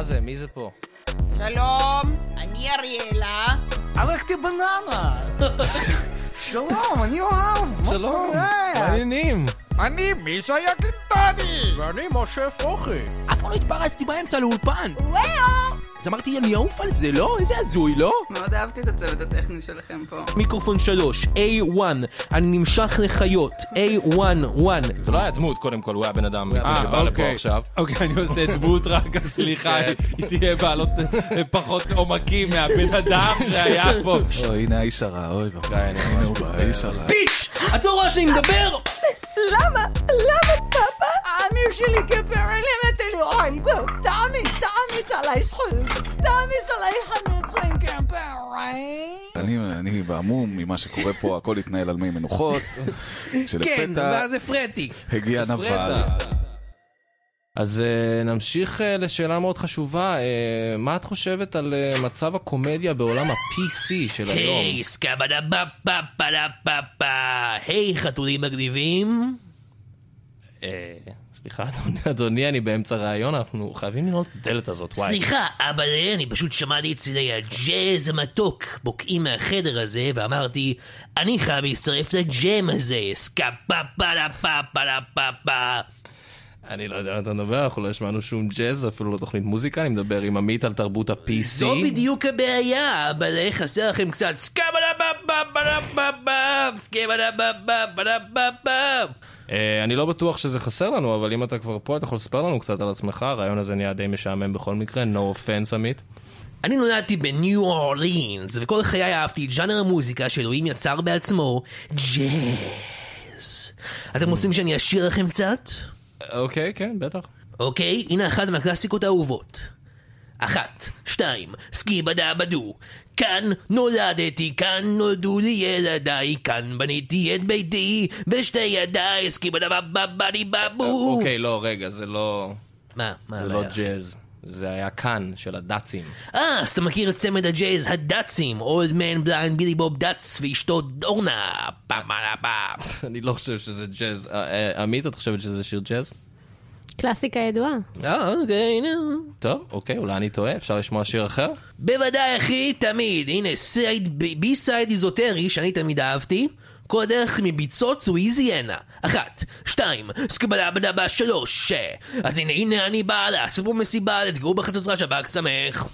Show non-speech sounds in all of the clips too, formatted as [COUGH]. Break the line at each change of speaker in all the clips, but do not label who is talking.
זה? מי זה פה?
שלום, אני אריאלה.
הלכתי בננה! שלום, אני אוהב!
שלום,
מה קורה?
מעניינים.
אני מישה יקינטני!
ואני משה אפרוחי.
אף פעם לא התפרצתי באמצע לאולפן!
וואו!
אז אמרתי, אני אעוף על זה, לא? איזה הזוי, לא?
מאוד אהבתי את הצוות הטכני שלכם פה.
מיקרופון אה. 3, A1, אני נמשך לחיות, A1-1.
זה לא היה דמות, קודם כל, הוא היה בן אדם שבא
אה,
לפה
אוקיי.
עכשיו.
אוקיי, אני עושה דמות רק, אז סליחה,
כן.
היא תהיה בעלות אה, פחות עומקים מהבן אדם שהיה פה.
אוי, הנה האיש הרע, אוי ואבוי. הנה הוא בא, האיש הרע.
ביש! את לא רואה שאני מדבר?
למה? למה, פאפה? האמיר שלי גבר אלימת אלוהים. בואו, תעמיס, תעמיס עליי זכות. תעמיס עליי חנוצרים גברים.
אני- אני בעמום ממה שקורה פה, הכל התנהל על מי
[LAUGHS]
מנוחות.
[LAUGHS] כן,
כשלפתע
ואז הפרעתי.
הגיע נבל.
אז אה, נמשיך אה, לשאלה מאוד חשובה. אה, מה את חושבת על אה, מצב הקומדיה בעולם ה-PC של היום?
היי, סקאבדה בפה פדה פפה, היי חתולים מגניבים.
אה, סליחה, אדוני- אדוני, אני באמצע ראיון, אנחנו חייבים לנעול את הדלת הזאת, וואי.
סליחה, אבל אני פשוט שמעתי את צילי הג'אז המתוק בוקעים מהחדר הזה, ואמרתי, אני חייב להצטרף לג'ם הזה, סקאפה פדה פפה לה פפה.
אני לא יודע מה אתה מדבר, אנחנו לא השמענו שום ג'אז, אפילו לא תוכנית מוזיקה, אני מדבר עם עמית על תרבות ה-PC.
זו בדיוק הבעיה, אבל אה, חסר לכם קצת סקאבלה בפה פדה פפה, סקאבלה בפה פדה פפה.
אה, אני לא בטוח שזה חסר לנו, אבל אם אתה כבר פה, אתה יכול לספר לנו קצת על עצמך, הרעיון הזה נהיה די משעמם בכל מקרה, no offense עמית.
אני נולדתי בניו אורלינס, וכל חיי אהבתי את ז'אנר המוזיקה שאלוהים יצר בעצמו, ג'אז. אתם רוצים שאני אשיר לכם קצת?
אוקיי, כן, בטח.
אוקיי, הנה אחת מהקלאסיקות האהובות. אחת, שתיים, סקי בדה בדו. כאן נולדתי, כאן נולדו לי ילדיי, כאן בניתי את ביתי, בשתי ידיי, סקי בדה בבני בבו.
אוקיי, לא, רגע, זה לא...
מה, מה
זה לא
הבעיה?
ג'אז. זה היה כאן, של הדאצים. [LAUGHS]
אה, אז אתה מכיר את צמד הג'אז הדאצים, אולד מן בליינד בילי בוב דאץ ואשתו דורנה. פעם על
[LAUGHS]
הפעם.
אני לא חושב שזה ג'אז. אה, אה, עמית, את חושבת שזה שיר ג'אז?
קלאסיקה ידועה.
אה, אוקיי, נו.
טוב, אוקיי, אולי אני טועה, אפשר לשמוע שיר אחר?
בוודאי, אחי, תמיד. הנה, סייד, ב- בי סייד איזוטרי, שאני תמיד אהבתי. כל הדרך מביצות לואיזיאנה. אחת, שתיים, סקבלה בדבה שלוש. אז הנה, הנה אני בעלה, עשו פה מסיבה, תגעו בחצוצרה שב"כ שמח.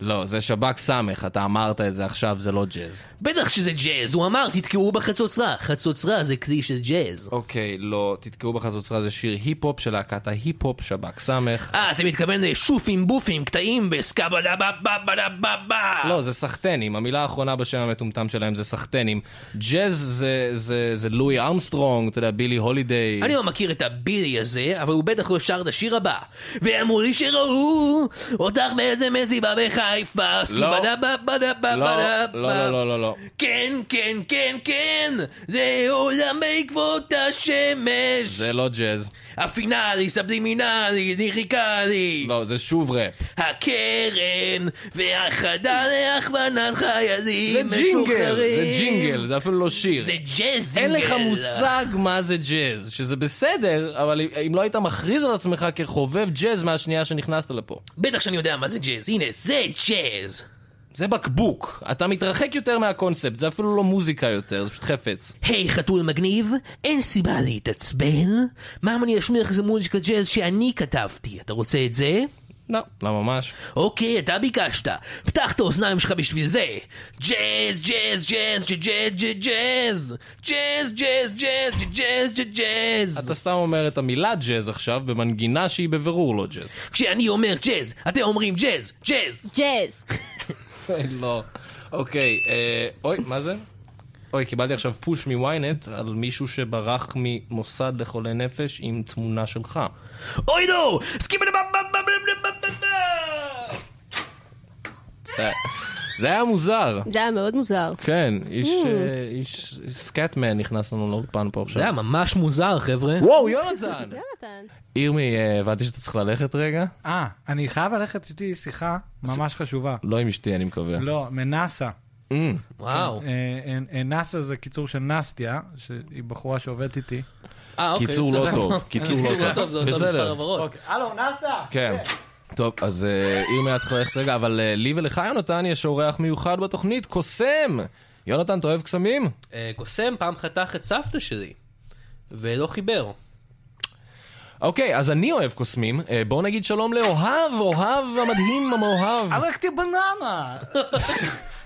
לא, זה שב"כ סמך, אתה אמרת את זה עכשיו, זה לא ג'אז.
בטח שזה ג'אז, הוא אמר, תתקעו בחצוצרה. חצוצרה זה כלי של ג'אז.
אוקיי, לא, תתקעו בחצוצרה, זה שיר היפ-הופ של להקת ההיפ-הופ, שב"כ סמך.
אה, אתה מתכוון לשופים בופים, קטעים בסקאבלה בבה בבה בבה
לא, זה סחטנים, המילה האחרונה בשם המטומטם שלהם זה סחטנים. ג'אז זה, זה, זה לואי ארמסטרונג, אתה יודע, בילי הולידיי.
אני לא מכיר את הבילי הזה, אבל הוא בטח לא שר את השיר הבא. ואמרו לי שראו אותך באיזה מזיבה בחיפה, סקיבדה בבה בבה בבה
לא,
בבה.
לא, לא, לא, לא, לא.
כן, כן, כן, כן, זה עולם בעקבות השמש.
זה לא ג'אז.
הפינאלי, סבלימינלי, ניחיקלי.
לא, זה שוב ראפ.
הקרן והחדה להכוונת חיילים
זה ג'ינגל, זה
משוחררים.
ג'ינגל, זה אפילו לא שיר.
זה ג'אז
אין לך
זינגל.
מושג מה זה ג'אז, שזה בסדר, אבל אם- אם לא היית מכריז על עצמך כחובב ג'אז מהשנייה שנכנסת לפה.
בטח שאני יודע מה זה ג'אז, הנה, זה ג'אז.
זה בקבוק, אתה מתרחק יותר מהקונספט, זה אפילו לא מוזיקה יותר, זה פשוט חפץ.
היי חתול מגניב, אין סיבה להתעצבן. מה אם אני אשמיע לך איזה מוזיקה ג'אז שאני כתבתי? אתה רוצה את זה?
לא, לא ממש.
אוקיי, אתה ביקשת. פתח את האוזניים שלך בשביל זה. ג'אז, ג'אז, ג'אז, ג'אז, ג'אז, ג'אז, ג'אז, ג'אז, ג'אז, ג'אז, ג'אז, ג'אז.
אתה סתם אומר את המילה ג'אז עכשיו במנגינה שהיא בבירור לא ג'אז.
כשאני אומר ג'אז, אתם אומרים ג'אז, ג'אז.
ג'אז.
לא. אוקיי, אה, אוי, מה זה? אוי, קיבלתי עכשיו פוש מוויינט על מישהו שברח ממוסד לחולי נפש עם תמונה שלך.
אוי לא! סקיבלה בב בב בב בב בב בב
אה, זה היה מוזר.
זה היה מאוד מוזר.
כן, איש אה, איש סקאטמן נכנס לנו לאולפן פה
זה
עכשיו.
היה ממש מוזר, חבר'ה.
וואו, יונתן! [LAUGHS]
יונתן.
ירמי, אה, הבנתי שאתה צריך ללכת רגע?
אה, אני חייב ללכת, יש לי שיחה ממש חשובה.
לא עם אשתי, אני מקווה.
לא, מנאסא.
אה,
וואו.
אה, אה, אה, נאסא זה קיצור של נסטיה, שהיא בחורה שעובדת איתי.
אה, אוקיי,
קיצור לא
[LAUGHS] סבבה. אוקיי.
טוב, קיצור לא טוב.
זה אותו מספר
בסדר,
הברות.
הלו, נאסא!
כן. טוב, אז אה, עיר מעט צריך ללכת רגע, אבל אה, לי ולך, יונתן, יש אורח מיוחד בתוכנית, קוסם! יונתן, אתה אוהב קסמים?
אה, קוסם פעם חתך את סבתא שלי, ולא חיבר.
אוקיי, אז אני אוהב קוסמים. אה, בואו נגיד שלום לאוהב, אוהב המדהים, המאוהב.
הלכתי בננה!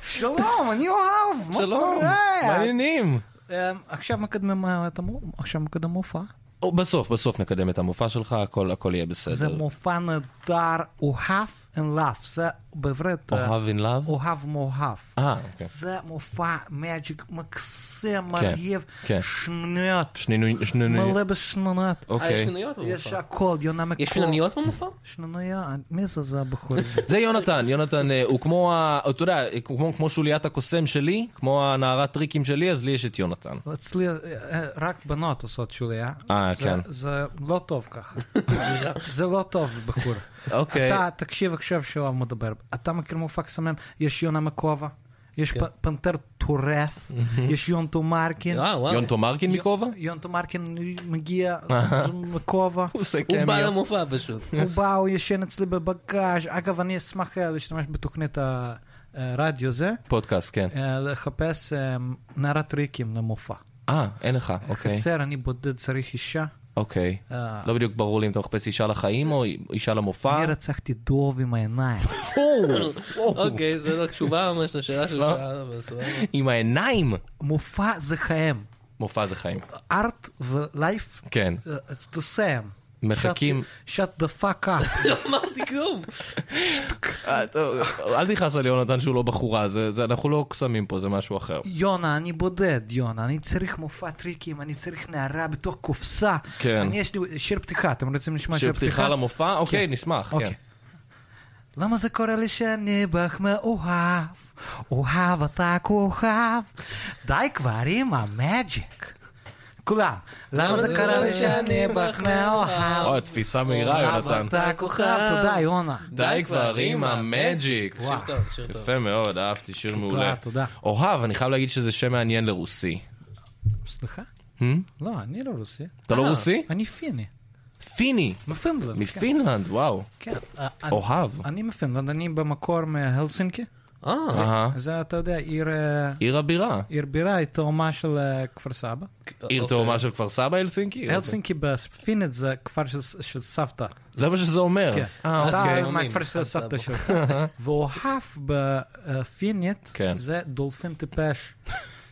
שלום, אני אוהב, מה
שלום, מה
קורה?
העניינים?
אמ, עכשיו מקדמים מה אתה אומר? עכשיו מקדם מופע?
או, בסוף, בסוף נקדם את המופע שלך, הכל הכל יהיה
זה
בסדר.
מופע נהדר, אוהב and love, זה בעברית... אה,
אוהב in love?
אוהב מאוהב.
אה, אוקיי.
זה מופע מאג'יק מקסים,
כן,
מרהיב,
כן.
שניות,
שנינו... שנינו...
מלא בשנונות.
אה, יש
אוקיי.
שנוניות
יש
במופע.
הכל, יונה מקור.
יש שנוניות במופע?
שנוניה, מי זה זה
[LAUGHS]
הבחור? הזה?
זה יונתן, יונתן אה, הוא כמו, ה- אתה יודע, הוא כמו, כמו שוליית הקוסם שלי, כמו הנערת טריקים שלי, אז לי יש את יונתן.
אצלי אה, אה, רק בנות עושות שוליה.
אה,
זה-
כן.
זה לא טוב
[LAUGHS]
ככה. זה לא טוב, בחור.
אוקיי.
אתה, תקשיב עכשיו שהוא מדבר. אתה מכיר מופע קסמים? יש יונה מקובה,
כן.
יש פ- פנתר טורף, יש יונטו מרקין.
אה,
וואו, וואו.
יונתו מרקין מכובע?
יונטו מרקין מגיע
אה. [LAUGHS]
מכובע.
כן.
כן,
הוא בא למופע פשוט.
הוא בא, הוא ישן אצלי בבגאז'. אגב, אני אשמח אה, להשתמש בתוכנית ה- אה, הרדיו הזה,
פודקאסט, כן.
אה, לחפש אה, נערת טריקים למופע.
אה, אין לך, אוקיי.
חסר, אני בודד, צריך אישה.
אוקיי.
אה,
לא בדיוק ברור לי אם אתה מחפש אישה לחיים או אישה למופע.
אני רצחתי דוב עם העיניים.
אוקיי, זו לא תשובה ממש לשאלה
לא?
של שאלה, אבל סבבה.
עם העיניים.
מופע זה חיים.
מופע זה חיים.
ארט ולייף,
כן.
אה, it's the same.
מחכים.
shut the fuck up.
לא אמרתי כלום.
אה, טוב, אל תכעס על יונתן שהוא לא בחורה, זה- זה- אנחנו לא קסמים פה, זה משהו אחר.
יונה, אני בודד, יונה. אני צריך מופע טריקים, אני צריך נערה בתוך קופסה.
כן.
אני יש לי שיר פתיחה, אתם רוצים לשמוע שיר
שיר
פתיחה?
פתיחה למופע? אוקיי, נשמח, כן.
אוקיי. למה זה קורה לי שאני בך מאוהב? אוהב אתה כוכב. די כבר עם המאג'יק. כולם. למה זה קורה לי שאני בך מאוהב?
אוי, תפיסה מהירה, יונתן.
אתה כוכב, תודה יונה.
אה, די כבר עם המג'יק.
שיר
אה,
טוב, שיר טוב.
יפה מאוד, אהבתי, שיר מעולה.
תודה.
אוהב, אני חייב להגיד שזה שם מעניין לרוסי.
סליחה?
Hmm?
לא, אני לא רוסי.
אתה לא רוסי?
אני פיני.
פיני,
מפינלנד.
מפינלנד, וואו.
כן. אה, אני-
אוהב.
אני מפינלנד, אני במקור מהלסינקי.
אה,
אהה.
זה, אתה יודע, עיר... אה,
עיר הבירה.
עיר בירה היא תאומה של אה, כפר סבא.
עיר תאומה של כפר סבא, הלסינקי?
אה, הלסינקי בספינית זה כפר של- של סבתא.
זה מה שזה אומר.
כן.
אה,
אז
אוקיי.
אתה-
מה הכפר של סבתא שלך.
[LAUGHS]
ואוהף בפינית
כן.
זה דולפין טיפש.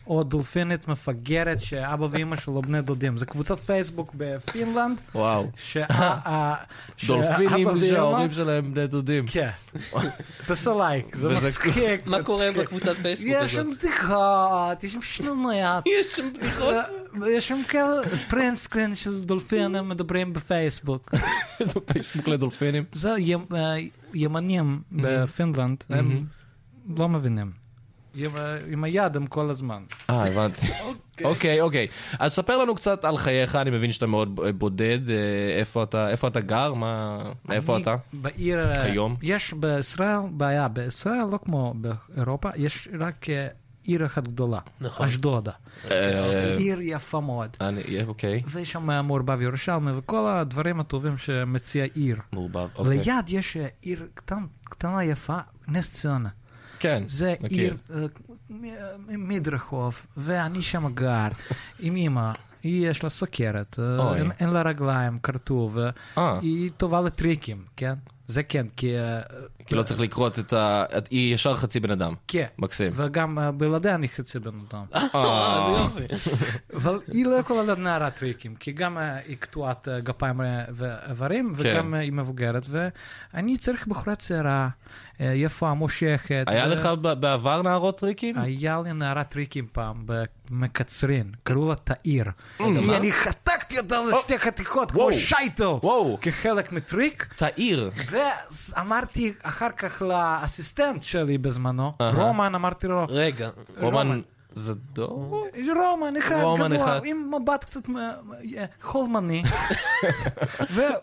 או דולפינית מפגרת שאבא ואימא שלו בני דודים. זה קבוצת פייסבוק בפינלנד.
[LAUGHS] וואו.
שה- ה- שאבא
דולפינים
אה, ואמא-
שההורים שלהם בני דודים. [LAUGHS]
כן. תעשה לייק, זה
וזה-
מצחיק.
אוקיי. מה קורה
מצחיק.
בקבוצת פייסבוק
כן. יש שם
הזאת?
בדיחות, יש שם
[LAUGHS]
שנוניות.
יש שם בדיחות.
יש שם כאלה פרינט סקרין של דולפינים מדברים בפייסבוק.
פייסבוק לדולפינים.
זה ימ- אה, ימנים
Mm-hmm.
בפינלנד, הם לא מבינים. עם ה- עם היד הם כל הזמן.
אה, הבנתי. אוקיי, אוקיי. אז ספר לנו קצת על חייך, אני מבין שאתה מאוד ב- בודד. אה, איפה אתה- איפה אתה גר? מה... איפה
אני
אתה?
בעיר... אה,
כיום?
יש בישראל בעיה, בישראל לא כמו באירופה, יש רק אה, עיר אחת גדולה,
נכון.
אשדודה.
אה,
עיר יפה מאוד.
אני- אוקיי.
ויש שם מעורבב ירושלמי וכל הדברים הטובים שמציע עיר.
מעורבב. אוקיי.
ליד יש אה, עיר קטן- קטנה יפה, נס ציונה.
כן,
זה
מכיר.
עיר אה, מ- מ- מדרחוב, ואני שם גר עם אמא. היא יש לה סוכרת, אה,
אוי.
אין, אין לה רגליים, כרטוב, אה,
אה.
היא טובה לטריקים, כן? זה כן, כי... אה,
כי לא צריך לקרות את ה... את- היא ישר חצי בן אדם.
כן.
מקסים.
וגם אה, בלעדיה אני חצי בן אדם.
אה, זה יופי.
אבל היא לא יכולה להיות נערת טריקים, כי גם אה, היא קטועת אה, גפיים אה, ואיברים,
כן.
וגם אה, היא מבוגרת, ואני צריך בחורה צעירה, אה, יפה, מושכת.
היה
ו-
לך ב- בעבר נערות טריקים?
היה לי נערת טריקים פעם במקצרין, קראו לה תאיר. היא- אני חתקתי אותה לשתי חתיכות, כמו
אה, וואו.
שייטל,
וואו.
כחלק מטריק.
תאיר.
ואמרתי אחר כך לאסיסטנט שלי בזמנו, רומן, אמרתי לו,
רגע.
רומן זדור?
רומן אחד
רומן
גבוה,
אחד.
עם מבט קצת אה, אה,
[LAUGHS]
חולמני.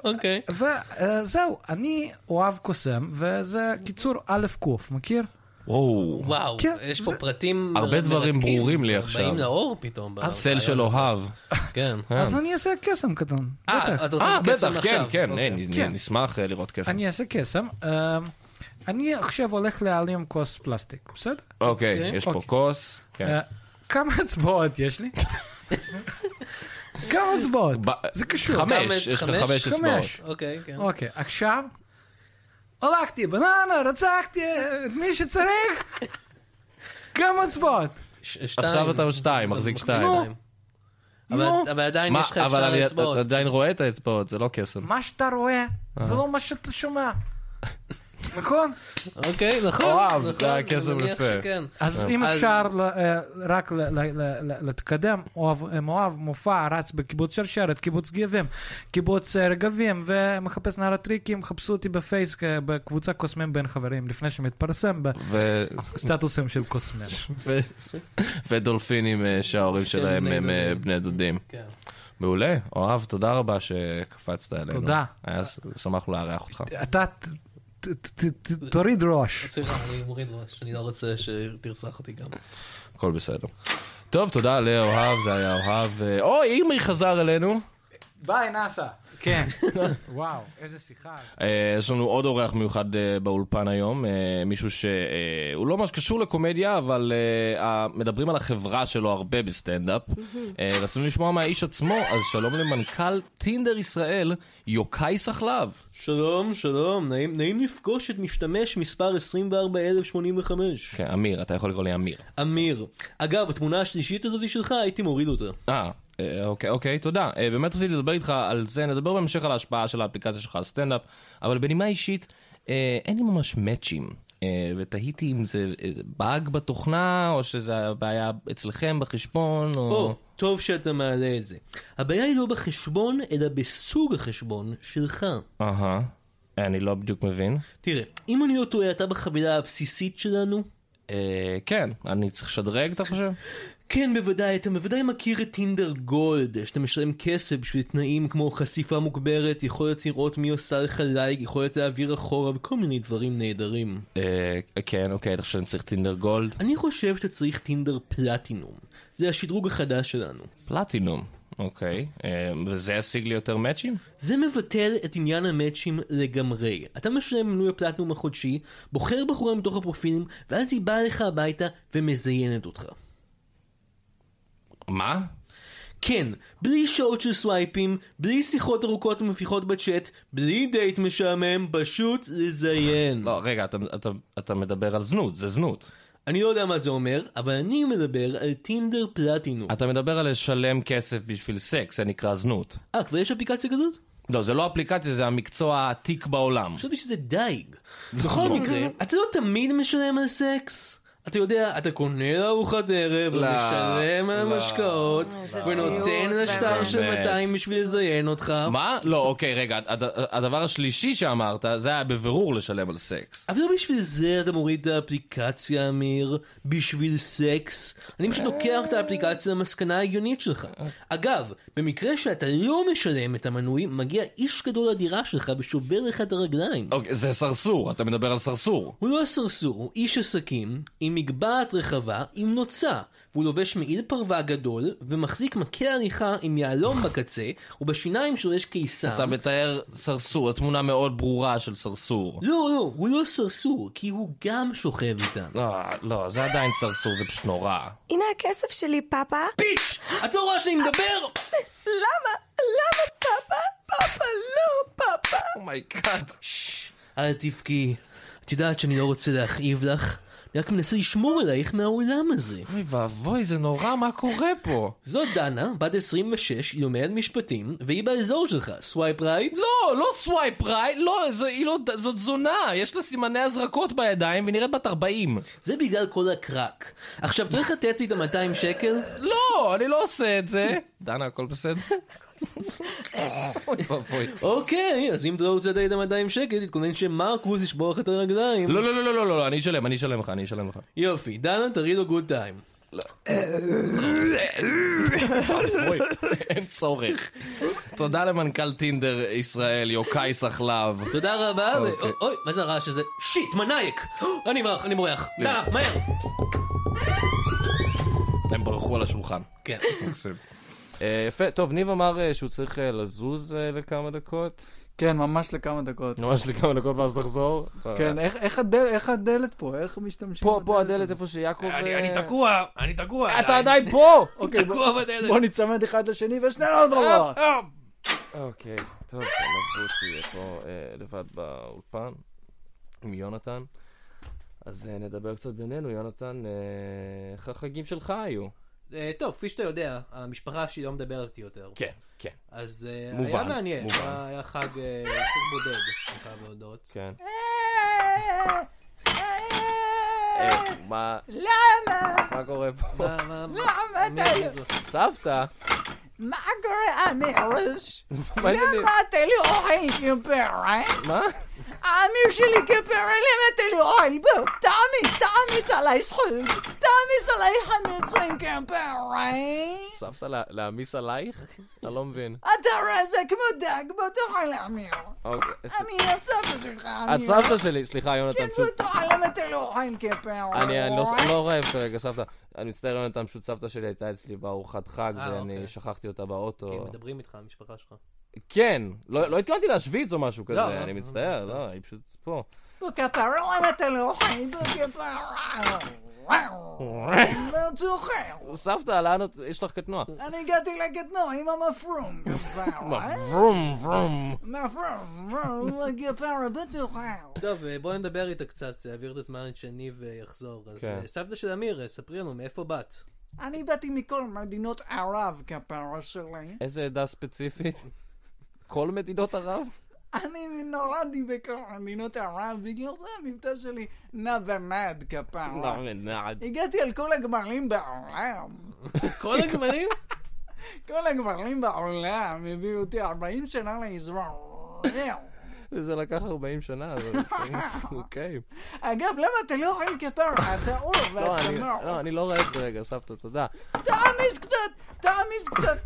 אוקיי.
אה,
וזהו, אני אוהב קוסם, וזה קיצור א' ק', מכיר?
וואו.
וואו,
כן,
יש פה פרטים
הרבה
מרתקים,
דברים ברורים לי עכשיו.
באים לאור פתאום. ב-
סל
ברעיון
של
הזה.
אוהב.
כן.
אז אני אעשה קסם קטן. בטח.
אה, אתה
אה,
רוצה קסם
בטח, כן,
עכשיו?
כן,
אוקיי.
אה, נ-
כן.
נשמח אה, לראות קסם.
אני אעשה קסם. אה, אני עכשיו הולך להעלים כוס פלסטיק, בסדר?
אוקיי, יש פה
אוקיי.
כוס. כן.
אה, כמה אצבעות יש
[LAUGHS]
לי? כמה אצבעות?
ב-
זה קשור.
חמש,
כמה-
יש לך
חמש?
חמש אצבעות.
חמש.
אוקיי, כן.
אוקיי, עכשיו... הולכתי, בננה, רצחתי את מי שצריך. כמה אצבעות?
ש- שתיים.
עכשיו אתה עוד שתיים, מחזיק שתיים.
נו.
שתיים.
נו.
אבל אבל עדיין
מה,
יש לך את
אבל
שתי
אני
האצבעות.
אתה עדיין רואה את האצבעות, זה לא קסם.
מה שאתה רואה, זה לא מה שאתה שומע. נכון?
אוקיי, נכון.
אוהב, זה
נכון,
היה קסם
אני מניח
יפה.
שכן.
אז אם
אז-
אפשר ל- אה, רק ל- ל- ל- ל- להתקדם, אוהב- מואב מופע רץ בקיבוץ שרשרת, קיבוץ גבים, קיבוץ אה, רגבים, ומחפש נער הטריקים, חפשו אותי בפייס אה, בקבוצה קוסמים בין חברים, לפני שמתפרסם
ו-
בסטטוסים של קוסמים.
ו- ודולפינים אה, שההורים שלהם
בני
הם אה,
דודים.
בני דודים.
כן.
מעולה, אוהב, תודה רבה שקפצת אלינו.
תודה.
היה ס- שמחנו לארח אותך.
אתה ת- ת- ת- ת- תוריד ראש.
סליחה, אני מוריד ראש, אני לא רוצה שתרצח אותי גם.
הכל בסדר. טוב, תודה לאוהב, זה היה אוהב. אה, אוי, אימי חזר אלינו.
ביי, נאסא. [LAUGHS] כן. וואו, איזה שיחה.
אה, יש לנו עוד אורח מיוחד אה, באולפן היום, אה, מישהו שהוא לא ממש קשור לקומדיה, אבל אה, ה- מדברים על החברה שלו הרבה בסטנדאפ. אה, רצינו לשמוע מהאיש עצמו, אז שלום למנכ"ל טינדר ישראל, יוקאי סחלב.
שלום, שלום, נעים, נעים לפגוש את משתמש מספר 24,085.
כן, אמיר, אתה יכול לקרוא לי אמיר.
אמיר. אגב, התמונה השלישית הזאת שלך, הייתי מוריד אותה.
אה, אה, אוקיי, אוקיי, תודה. אה, באמת רציתי לדבר איתך על זה, נדבר בהמשך על ההשפעה של האפליקציה שלך על סטנדאפ, אבל בנימה אישית, אה, אין לי ממש מאצ'ים. אה, ותהיתי אם זה איזה באג בתוכנה, או שזה הבעיה אצלכם בחשבון,
או,
או...
טוב שאתה מעלה את זה. הבעיה היא לא בחשבון, אלא בסוג החשבון שלך.
אהה, אני לא בדיוק מבין.
תראה, אם אני לא טועה, אתה בחבילה הבסיסית שלנו?
אה, כן, אני צריך לשדרג, אתה חושב?
כן, בוודאי, אתה בוודאי מכיר את טינדר גולד, שאתה משלם כסף בשביל תנאים כמו חשיפה מוגברת, יכולת לראות מי עושה לך לייק, יכולת להעביר אחורה וכל מיני דברים נהדרים.
אה, כן, אוקיי, אתה חושב שאני צריך טינדר גולד?
אני חושב שאתה צריך טינדר פלטינום. זה השדרוג החדש שלנו.
פלטינום, אוקיי. אה, וזה ישיג לי יותר מאצ'ים?
זה מבטל את עניין המאצ'ים לגמרי. אתה משלם מנוי הפלטינום החודשי, בוחר בחורה מתוך הפרופילים, ואז היא באה לך הביתה ומזיינת אותך.
מה?
כן, בלי שעות של סווייפים, בלי שיחות ארוכות ומביכות בצ'אט, בלי דייט משעמם, פשוט לזיין.
לא, רגע, אתה, אתה, אתה מדבר על זנות, זה זנות.
אני לא יודע מה זה אומר, אבל אני מדבר על טינדר פלטינום.
אתה מדבר על לשלם כסף בשביל סקס, זה נקרא זנות.
אה, כבר יש אפליקציה כזאת?
לא, זה לא אפליקציה, זה המקצוע העתיק בעולם.
חשבתי שזה דייג. בכל מקרה, אתה לא תמיד משלם על סקס. אתה יודע, אתה קונה לארוחת ערב,
לא,
משלם על
לא.
המשקאות,
איזה
ונותן
סיוט,
לשטר של
באמת.
200 בשביל לזיין אותך.
מה? לא, אוקיי, רגע, הד- הדבר השלישי שאמרת, זה היה בבירור לשלם על סקס.
אבל לא בשביל זה אתה מוריד את האפליקציה, אמיר, בשביל סקס. אני פשוט לוקח את האפליקציה למסקנה ההגיונית שלך. אגב, במקרה שאתה לא משלם את המנוי, מגיע איש גדול לדירה שלך ושובר לך את הרגליים.
אוקיי, זה סרסור, אתה מדבר על סרסור.
הוא לא סרסור, הוא איש עסקים, עם מגבעת רחבה, עם נוצה. והוא לובש מעיל פרווה גדול, ומחזיק מקל הליכה עם יהלום בקצה, ובשיניים שלו יש קיסם.
אתה מתאר סרסור, התמונה מאוד ברורה של סרסור.
לא, לא, הוא לא סרסור, כי הוא גם שוכב איתם.
לא, לא, זה עדיין סרסור, זה פשוט נורא.
הנה הכסף שלי, פאפה. [LAUGHS]
פיץ'! את לא רואה שאני מדבר?
למה? למה פאפה? פאפה, לא פאפה.
אומייגאד.
ששש, אל תבכי. את יודעת שאני לא רוצה להכאיב לך, אני רק מנסה לשמור עלייך מהעולם הזה.
אוי ואבוי, זה נורא, מה קורה פה?
זאת דנה, בת 26, היא לומדת משפטים, והיא באזור שלך, סווייפ רייט?
לא, לא סווייפ רייט, לא, זו, היא לא, זאת זונה, יש לה סימני הזרקות בידיים והיא נראית בת 40.
זה בגלל כל הקרק. עכשיו, אתה הולך לתת לי את ה-200 שקל?
לא, אני לא עושה את זה. דנה, הכל בסדר? אוי ואבוי.
אוקיי, אז אם אתה לא רוצה לתת לי את ה-200 שקל, תתכונן שמרקוס ישבור לך את הרגליים.
לא, לא, לא, לא, לא, לא, אני אשלם, אני אשלם לך, אני אשלם לך.
יופי, דנה, תראי לו גוד טיים.
אוי, אין צורך. תודה למנכ"ל טינדר ישראל, יוקאי סחלב.
תודה רבה, ו-
אוקיי.
אוי, מה זה הרעש הזה? שיט, מנאייק! [GASPS] אני מרח, אני מורח. דנה, מהר!
הם ברחו על השולחן.
כן.
אה, יפה, טוב, ניב אמר אה, שהוא צריך אה, לזוז אה, לכמה דקות.
כן, ממש לכמה דקות.
ממש לכמה דקות ואז לחזור.
כן, איך- איך הדל- איך הדלת פה? איך משתמשים
אה. פה, פה
בדלת?
הדלת איפה שיעקב... אה,
תקוע, אני תקוע.
אתה עדיין פה!
אוקיי, בוא-
תקוע בדלת.
בוא ניצמד אחד לשני ושנינו עוד רבוע.
אוקיי, טוב, עזבו אותי פה אה, לבד באולפן עם יונתן. אז אה, נדבר קצת בינינו, יונתן, אה, איך החגים שלך היו?
אה, טוב, כפי שאתה יודע, המשפחה שלי לא מדברת איתי יותר.
כן, כן.
אז אה,
מובן,
היה מעניין.
מובן.
היה- היה חג אה, חג בודד, אני חייב להודות.
כן.
Eh,
אה, מה? למה? מה קורה פה?
מה, אה, מה, מה? מי- מי זו?
סבתא?
מה קורה, אמירוש?
מה העניינים?
אתה לי אוכל כפרה?
מה?
אמיר שלי כפרה, למה אתה לי אוכל? בוא, תעמיס, תעמיס עליי זכות. תעמיס עליי חמיצים כפרה.
סבתא לה- להעמיס עלייך? אני לא מבין.
אתה רזה כמו דג, בוא תאכל אמיר.
אוקיי, ס-
אני הסבא שלך,
את
אמיר.
סבתא שלי, סליחה יונתן,
כן, בוא
פשוט...
תאכל, למה אתה לא אוכל כפרה?
אני אני לא- לא רעב כרגע, סבתא. אני מצטער יונתן, פשוט סבתא שלי הייתה אצלי בארוחת חג,
אה,
ואני
אוקיי.
שכחתי אותה
כן,
באוטו.
מדברים איתך, המשפחה שלך.
כן, לא לא התכוונתי להשוויץ או משהו
לא,
כזה,
לא,
אני
לא,
מצטער,
בסדר.
לא, היא פשוט
[LAUGHS]
פה.
בוא כפרה, למה אתה לא אוכל? בוא כפרה. לא צוחק.
סבתא, לאן את... יש לך קטנוע.
אני הגעתי לקטנוע עם
[LAUGHS]
המפרום.
מה, ורום, ורום.
מפרום, מפרום, כפרה בטוחה.
טוב, אה, בוא נדבר איתה קצת, זה יעביר את הזמן שאני ויחזור. אז
כן.
אה, סבתא של אמיר, אה, ספרי לנו מאיפה באת.
אני באתי מכל מדינות ערב, כפרה שלי.
איזה עדה ספציפית? כל מדינות
[LAUGHS]
ערב?
אני נולדתי בכל מדינות ערב, בגלל זה המבטא שלי נע ונד,
לא,
כפרה.
לא.
הגעתי על כל הגמלים בעולם.
כל הגמלים?
כל הגמלים בעולם הביאו אותי 40 שנה לישראל.
זה לקח 40 שנה, אבל [LAUGHS] אוקיי.
אגב, למה אתה לא אוכל כפרה? אתה אור
לא, אני-
והצמר.
לא, אני לא רעב כרגע, סבתא, תודה.
תעמיס קצת, תעמיס קצת.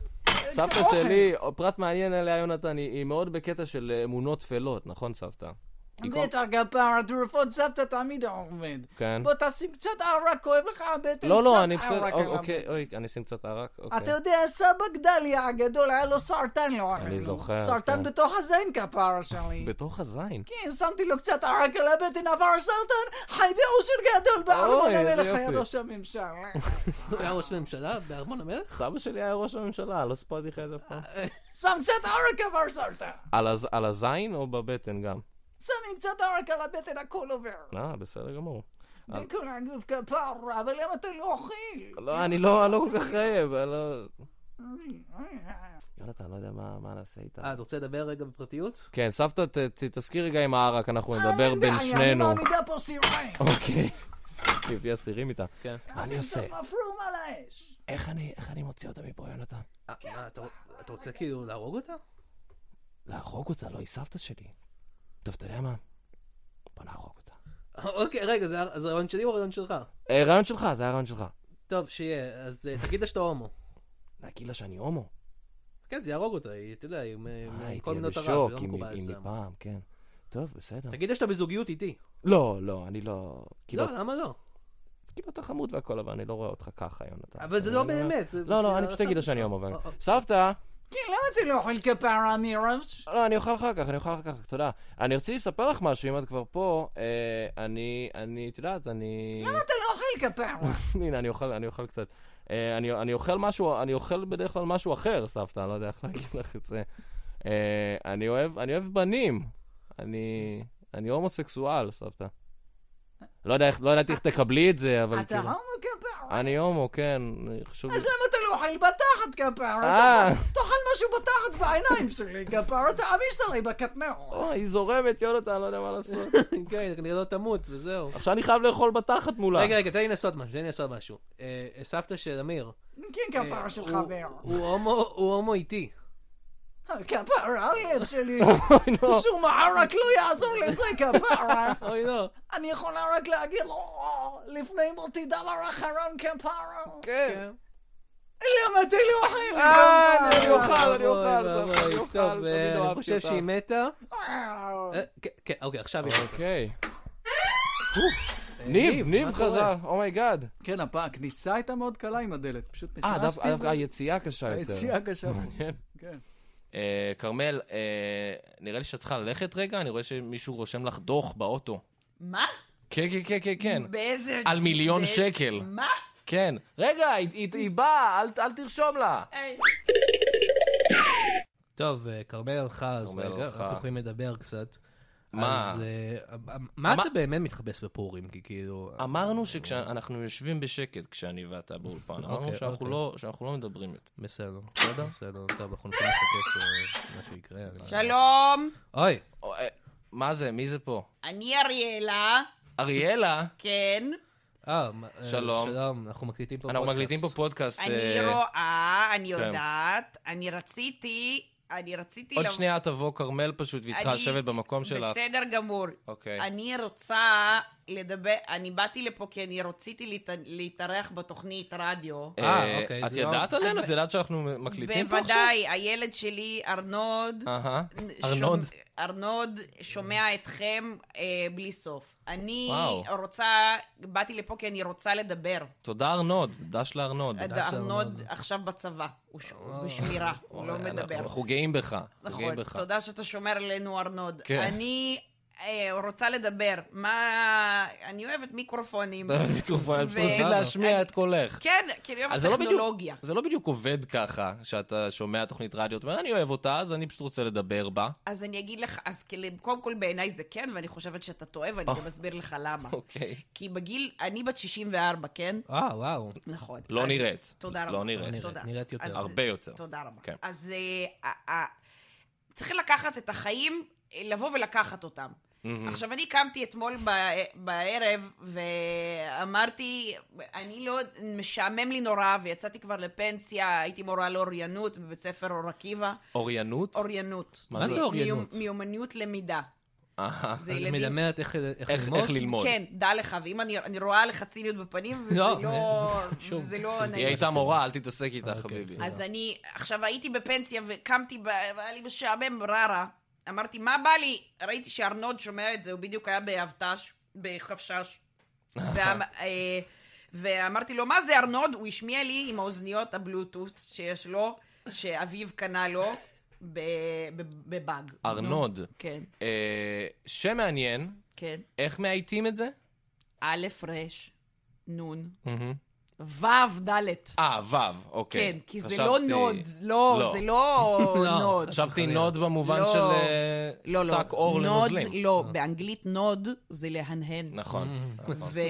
סבתא
אוכל.
שלי, פרט מעניין עליה, יונתן, היא היא מאוד בקטע של אה, אמונות טפלות, נכון, סבתא? היא כל-
בטח כפרה, תרופות סבתא תמיד עובד.
כן.
בוא תשים קצת ערק, כואב לך הבטן,
לא,
קצת
לא, אני בסדר,
ערק
אוק-
על
אוקיי, אוי, אני אשים קצת ערק,
אתה
אוקיי.
יודע, סבא גדליה הגדול, היה לו סרטן לא עלינו.
זוכר, כן.
סרטן בתוך הזין כפרה שלי.
בתוך הזין.
כן, שמתי לו קצת ערק על הבטן, עבר סרטן, חי באושר גדול בארמון
אוי, איזה
המלך, היה
יופי.
ראש הממשלה.
הוא היה ראש ממשלה בארמון המלך?
סבא שלי היה ראש הממשלה, לא סיפרתי לך את זה אף פעם.
שם קצת ערק, עבר סרטן.
על הז- על הזין או בבטן גם?
שמים קצת ערק על הבטן, הכל עובר.
אה, בסדר גמור. על-
בכל הגוף כפרה, אבל למה אתה לא אוכל?
לא, אני לא אני לא כל כך רעב, אני לא... יונתן, לא יודע מה מה נעשה איתה.
אה, אתה רוצה לדבר רגע בפרטיות?
כן, סבתא, ת- ת- תזכי רגע עם הערק, אנחנו
אה, אין
נדבר בין
בעיה,
שנינו.
אני לא מעמידה פה סיריים.
אוקיי. היא הביאה סירים איתה.
כן.
אה,
מה אני עושה?
שים קצת מפרום על האש.
איך אני, איך אני מוציא אותה מפה, יונתן?
אה, מה, אתה אתה רוצה כאילו להרוג אותה?
להרוג אותה, לא, היא סבתא שלי. טוב, אתה יודע מה? בוא נהרוג אותה.
אוקיי, רגע, זה הר- זה הרעיון שלי או הרעיון שלך?
אה, רעיון שלך, זה היה רעיון שלך.
טוב, שיהיה, אז אה, תגיד לה שאתה הומו.
להגיד לה שאני הומו.
אה,
כן, זה יהרוג אותה, היא, אתה יודע, היא מ-
אה, היא
מכל
תהיה
מינות הרעב,
בשוק,
זה לא
אם
מקובל
היא- אם היא
אצלם.
פעם, כן. טוב, בסדר.
תגיד לה שאתה בזוגיות איתי.
לא, לא, אני לא... כאילו,
לא, למה לא?
כאילו אתה חמוד והכל, אבל אני לא רואה אותך ככה, יונתן.
אבל זה
אני
לא
אומר-
באמת. זה
לא,
בשביל
לא, אני פשוט אגיד לה שאני הומו.
אה, אה.
סבתא!
כן, למה אתה לא אוכל כפרה, מירוש?
לא, אני אוכל אחר כך, אני אוכל אחר כך, תודה. אני רציתי לספר לך משהו, אם את כבר פה, אה, אני, אני, את יודעת, אני...
למה אתה לא אוכל כפרה?
[LAUGHS] הנה, אני אוכל, אני אוכל קצת. אה, אני, אני אוכל משהו, אני אוכל בדרך כלל משהו אחר, סבתא, אני לא יודע איך להגיד לך את זה. אה, אני אוהב, אני אוהב בנים. אני, אני הומוסקסואל, סבתא. לא יודע איך, לא ידעתי איך תקבלי את זה, אבל
אתה
כאילו...
הומו כפרה.
אני הומו, כן, חשוב לי...
אז למה אתה לא אוכל בתחת כפרה?
אה.
תאכל- תאכל משהו בתחת בעיניים שלי כפרה, תעמיס עליי בקטנוע.
אוי, היא זורמת, יונתן, לא יודע מה לעשות.
[LAUGHS] כן, כנראה לא תמות, וזהו.
עכשיו אני חייב לאכול בתחת מולה.
רגע, רגע, תן לי לנסות משהו, תן לי לנסות משהו. אה, סבתא של אמיר.
כן,
אה,
כפרה של
הוא-
חבר.
הוא הומו- הוא הומו איתי.
כפרה, האויב שלי.
אוי, נו.
שום הערק לא יעזור לזה, כפרה.
אוי, לא. נו.
אני יכולה רק להגיד לו, "או, לפני מותי דבר אחרון, כפרה.
כן.
למה אתה לא אוכל?
אה, אני
כפרה?
אוכל, אני
אוי,
אוכל,
ואבוי.
סבבה, אני אוכל,
טוב,
תמיד
אה,
אהבתי
אני חושב
אותה.
שהיא מתה.
אה, כן, כן, אוקיי, עכשיו היא...
אוקיי. אה,
ניב, ניב
מה
חזר,
Oh
קורה?
אומייגאד.
כן, הפעם, הכניסה הייתה מאוד קלה עם הדלת, פשוט
אה,
נכנסתי.
דווקא
ו-
דווקא היציאה קשה יותר.
היציאה קשה.
מעניין.
כן.
אה, כרמל, אה, נראה לי שאת צריכה ללכת רגע, אני רואה שמישהו רושם לך דוח באוטו.
מה?
כן, כן, כן, כן, כן.
באיזה...
על מיליון
באיזה-
שקל.
מה?
כן. רגע, היא- היא היא באה, אל- אל תרשום לה.
טוב, אה, כרמל הלכה, אז
כרמל
רגע,
הלכה.
אנחנו יכולים לדבר קצת.
מה?
אז אה, מה אתה באמת מתחבס בפורים? כי כאילו...
אמרנו שכשאנחנו יושבים בשקט, כשאני ואתה באולפן, אמרנו
אוקיי,
שאנחנו
אוקיי.
לא- שאנחנו לא מדברים יותר.
בסדר.
בסדר?
בסדר, טוב, אנחנו נוכל לחכות אה, מה שיקרה. אני-
שלום,
אוי.
אה, מה זה? מי זה פה?
אני אריאלה.
אריאלה?
כן.
אה, מה- אה,
שלום.
שלום, אנחנו מקליטים פה
אנחנו
פודקאסט.
מקליטים פה פודקאסט.
אני
אה,
רואה, אני
כן.
יודעת, אני רציתי, אני רציתי...
עוד
לב-
שנייה תבוא כרמל פשוט, והיא צריכה
לא- אני-
לשבת במקום שלך.
בסדר גמור.
אוקיי.
אני רוצה לדבר, אני באתי לפה כי אני רציתי להת- להתארח בתוכנית רדיו.
אה,
אוקיי,
את
זה לא-
ידעת עלינו? את יודעת שאנחנו מקליטים פה עכשיו?
בוודאי, הילד שלי, ארנוד,
אהה,
נ-
ארנוד.
שומע- ארנוד שומע אתכם אה, בלי סוף. אני
וואו.
רוצה, באתי לפה כי אני רוצה לדבר.
תודה ארנוד, דש לארנוד.
עד ארנוד עכשיו בצבא, הוא ש- הוא
[LAUGHS]
בשמירה, הוא לא
אוי, אנחנו-
מדבר.
אנחנו גאים בך, אנחנו גאים
נכון,
בך.
תודה שאתה שומר עלינו, ארנוד.
כן.
אני אה, רוצה לדבר. מה... אני אוהבת
[LAUGHS]
מיקרופונים.
מיקרופון, את
ו-
פשוט רוצים להשמיע את קולך.
כן, כי אני
אז
אוהבת
זה לא בדיוק-
טכנולוגיה.
זה לא בדיוק עובד ככה, שאתה שומע תוכנית רדיו, אתה אומר, אני אוהב אותה, אז אני פשוט רוצה לדבר בה.
אז אני אגיד לך, אז כאילו, קודם כל בעיניי זה כן, ואני חושבת שאתה טועה, ואני
אה.
גם אסביר לך למה.
אוקיי.
כי בגיל, אני בת 64, כן?
אה, וואו.
נכון.
לא
אז-
נראית.
תודה רבה.
לא נראית.
תודה. אז-
הרבה יותר.
תודה רבה.
כן.
אז אה, ה- ה- צריך לקחת את החיים, אה, לבוא ולקחת אותם.
מהמם.
עכשיו, אני קמתי אתמול ב- בערב ואמרתי, אני לא, משעמם לי נורא, ויצאתי כבר לפנסיה, הייתי מורה לאוריינות בבית ספר אור עקיבא.
אוריינות?
אוריינות.
מה זה אוריינות? אה,
מיומ- מיומנות למידה.
אהה.
זה ילדים-
מלמדת איך
איך- איך ללמוד.
כן, דע לך, ואם אני אני רואה לך ציניות בפנים, וזה
לא,
לא...
[LAUGHS] שוב.
זה לא
היא
נעים.
הייתה מורה, אל תתעסק איתה, חביבי.
אוקיי, אז אני, עכשיו הייתי בפנסיה וקמתי, ב- והיה לי משעמם ררה. אמרתי, מה בא לי? ראיתי שארנוד שומע את זה, הוא בדיוק היה באבטש, בחפשש. ואמ- אה, ואמרתי לו, מה זה ארנוד? הוא השמיע לי עם האוזניות הבלוטות שיש לו, שאביו קנה לו, ב- ב- בבאג.
אה. ארנוד.
כן,
אה, שם מעניין,
כן.
איך מאייתים את זה?
א', ר', נ',
מהמם.
ו', ד'.
אה, וו, אוקיי.
כן, כי זה
חשבתי-
לא נוד, לא, זה לא
לא,
נוד.
חשבתי נוד במובן
לא.
של אה,
לא, לא.
שק אור
נוד
לנוזלים. אה.
זה- לא, באנגלית נוד זה להנהן.
נכון,
ו...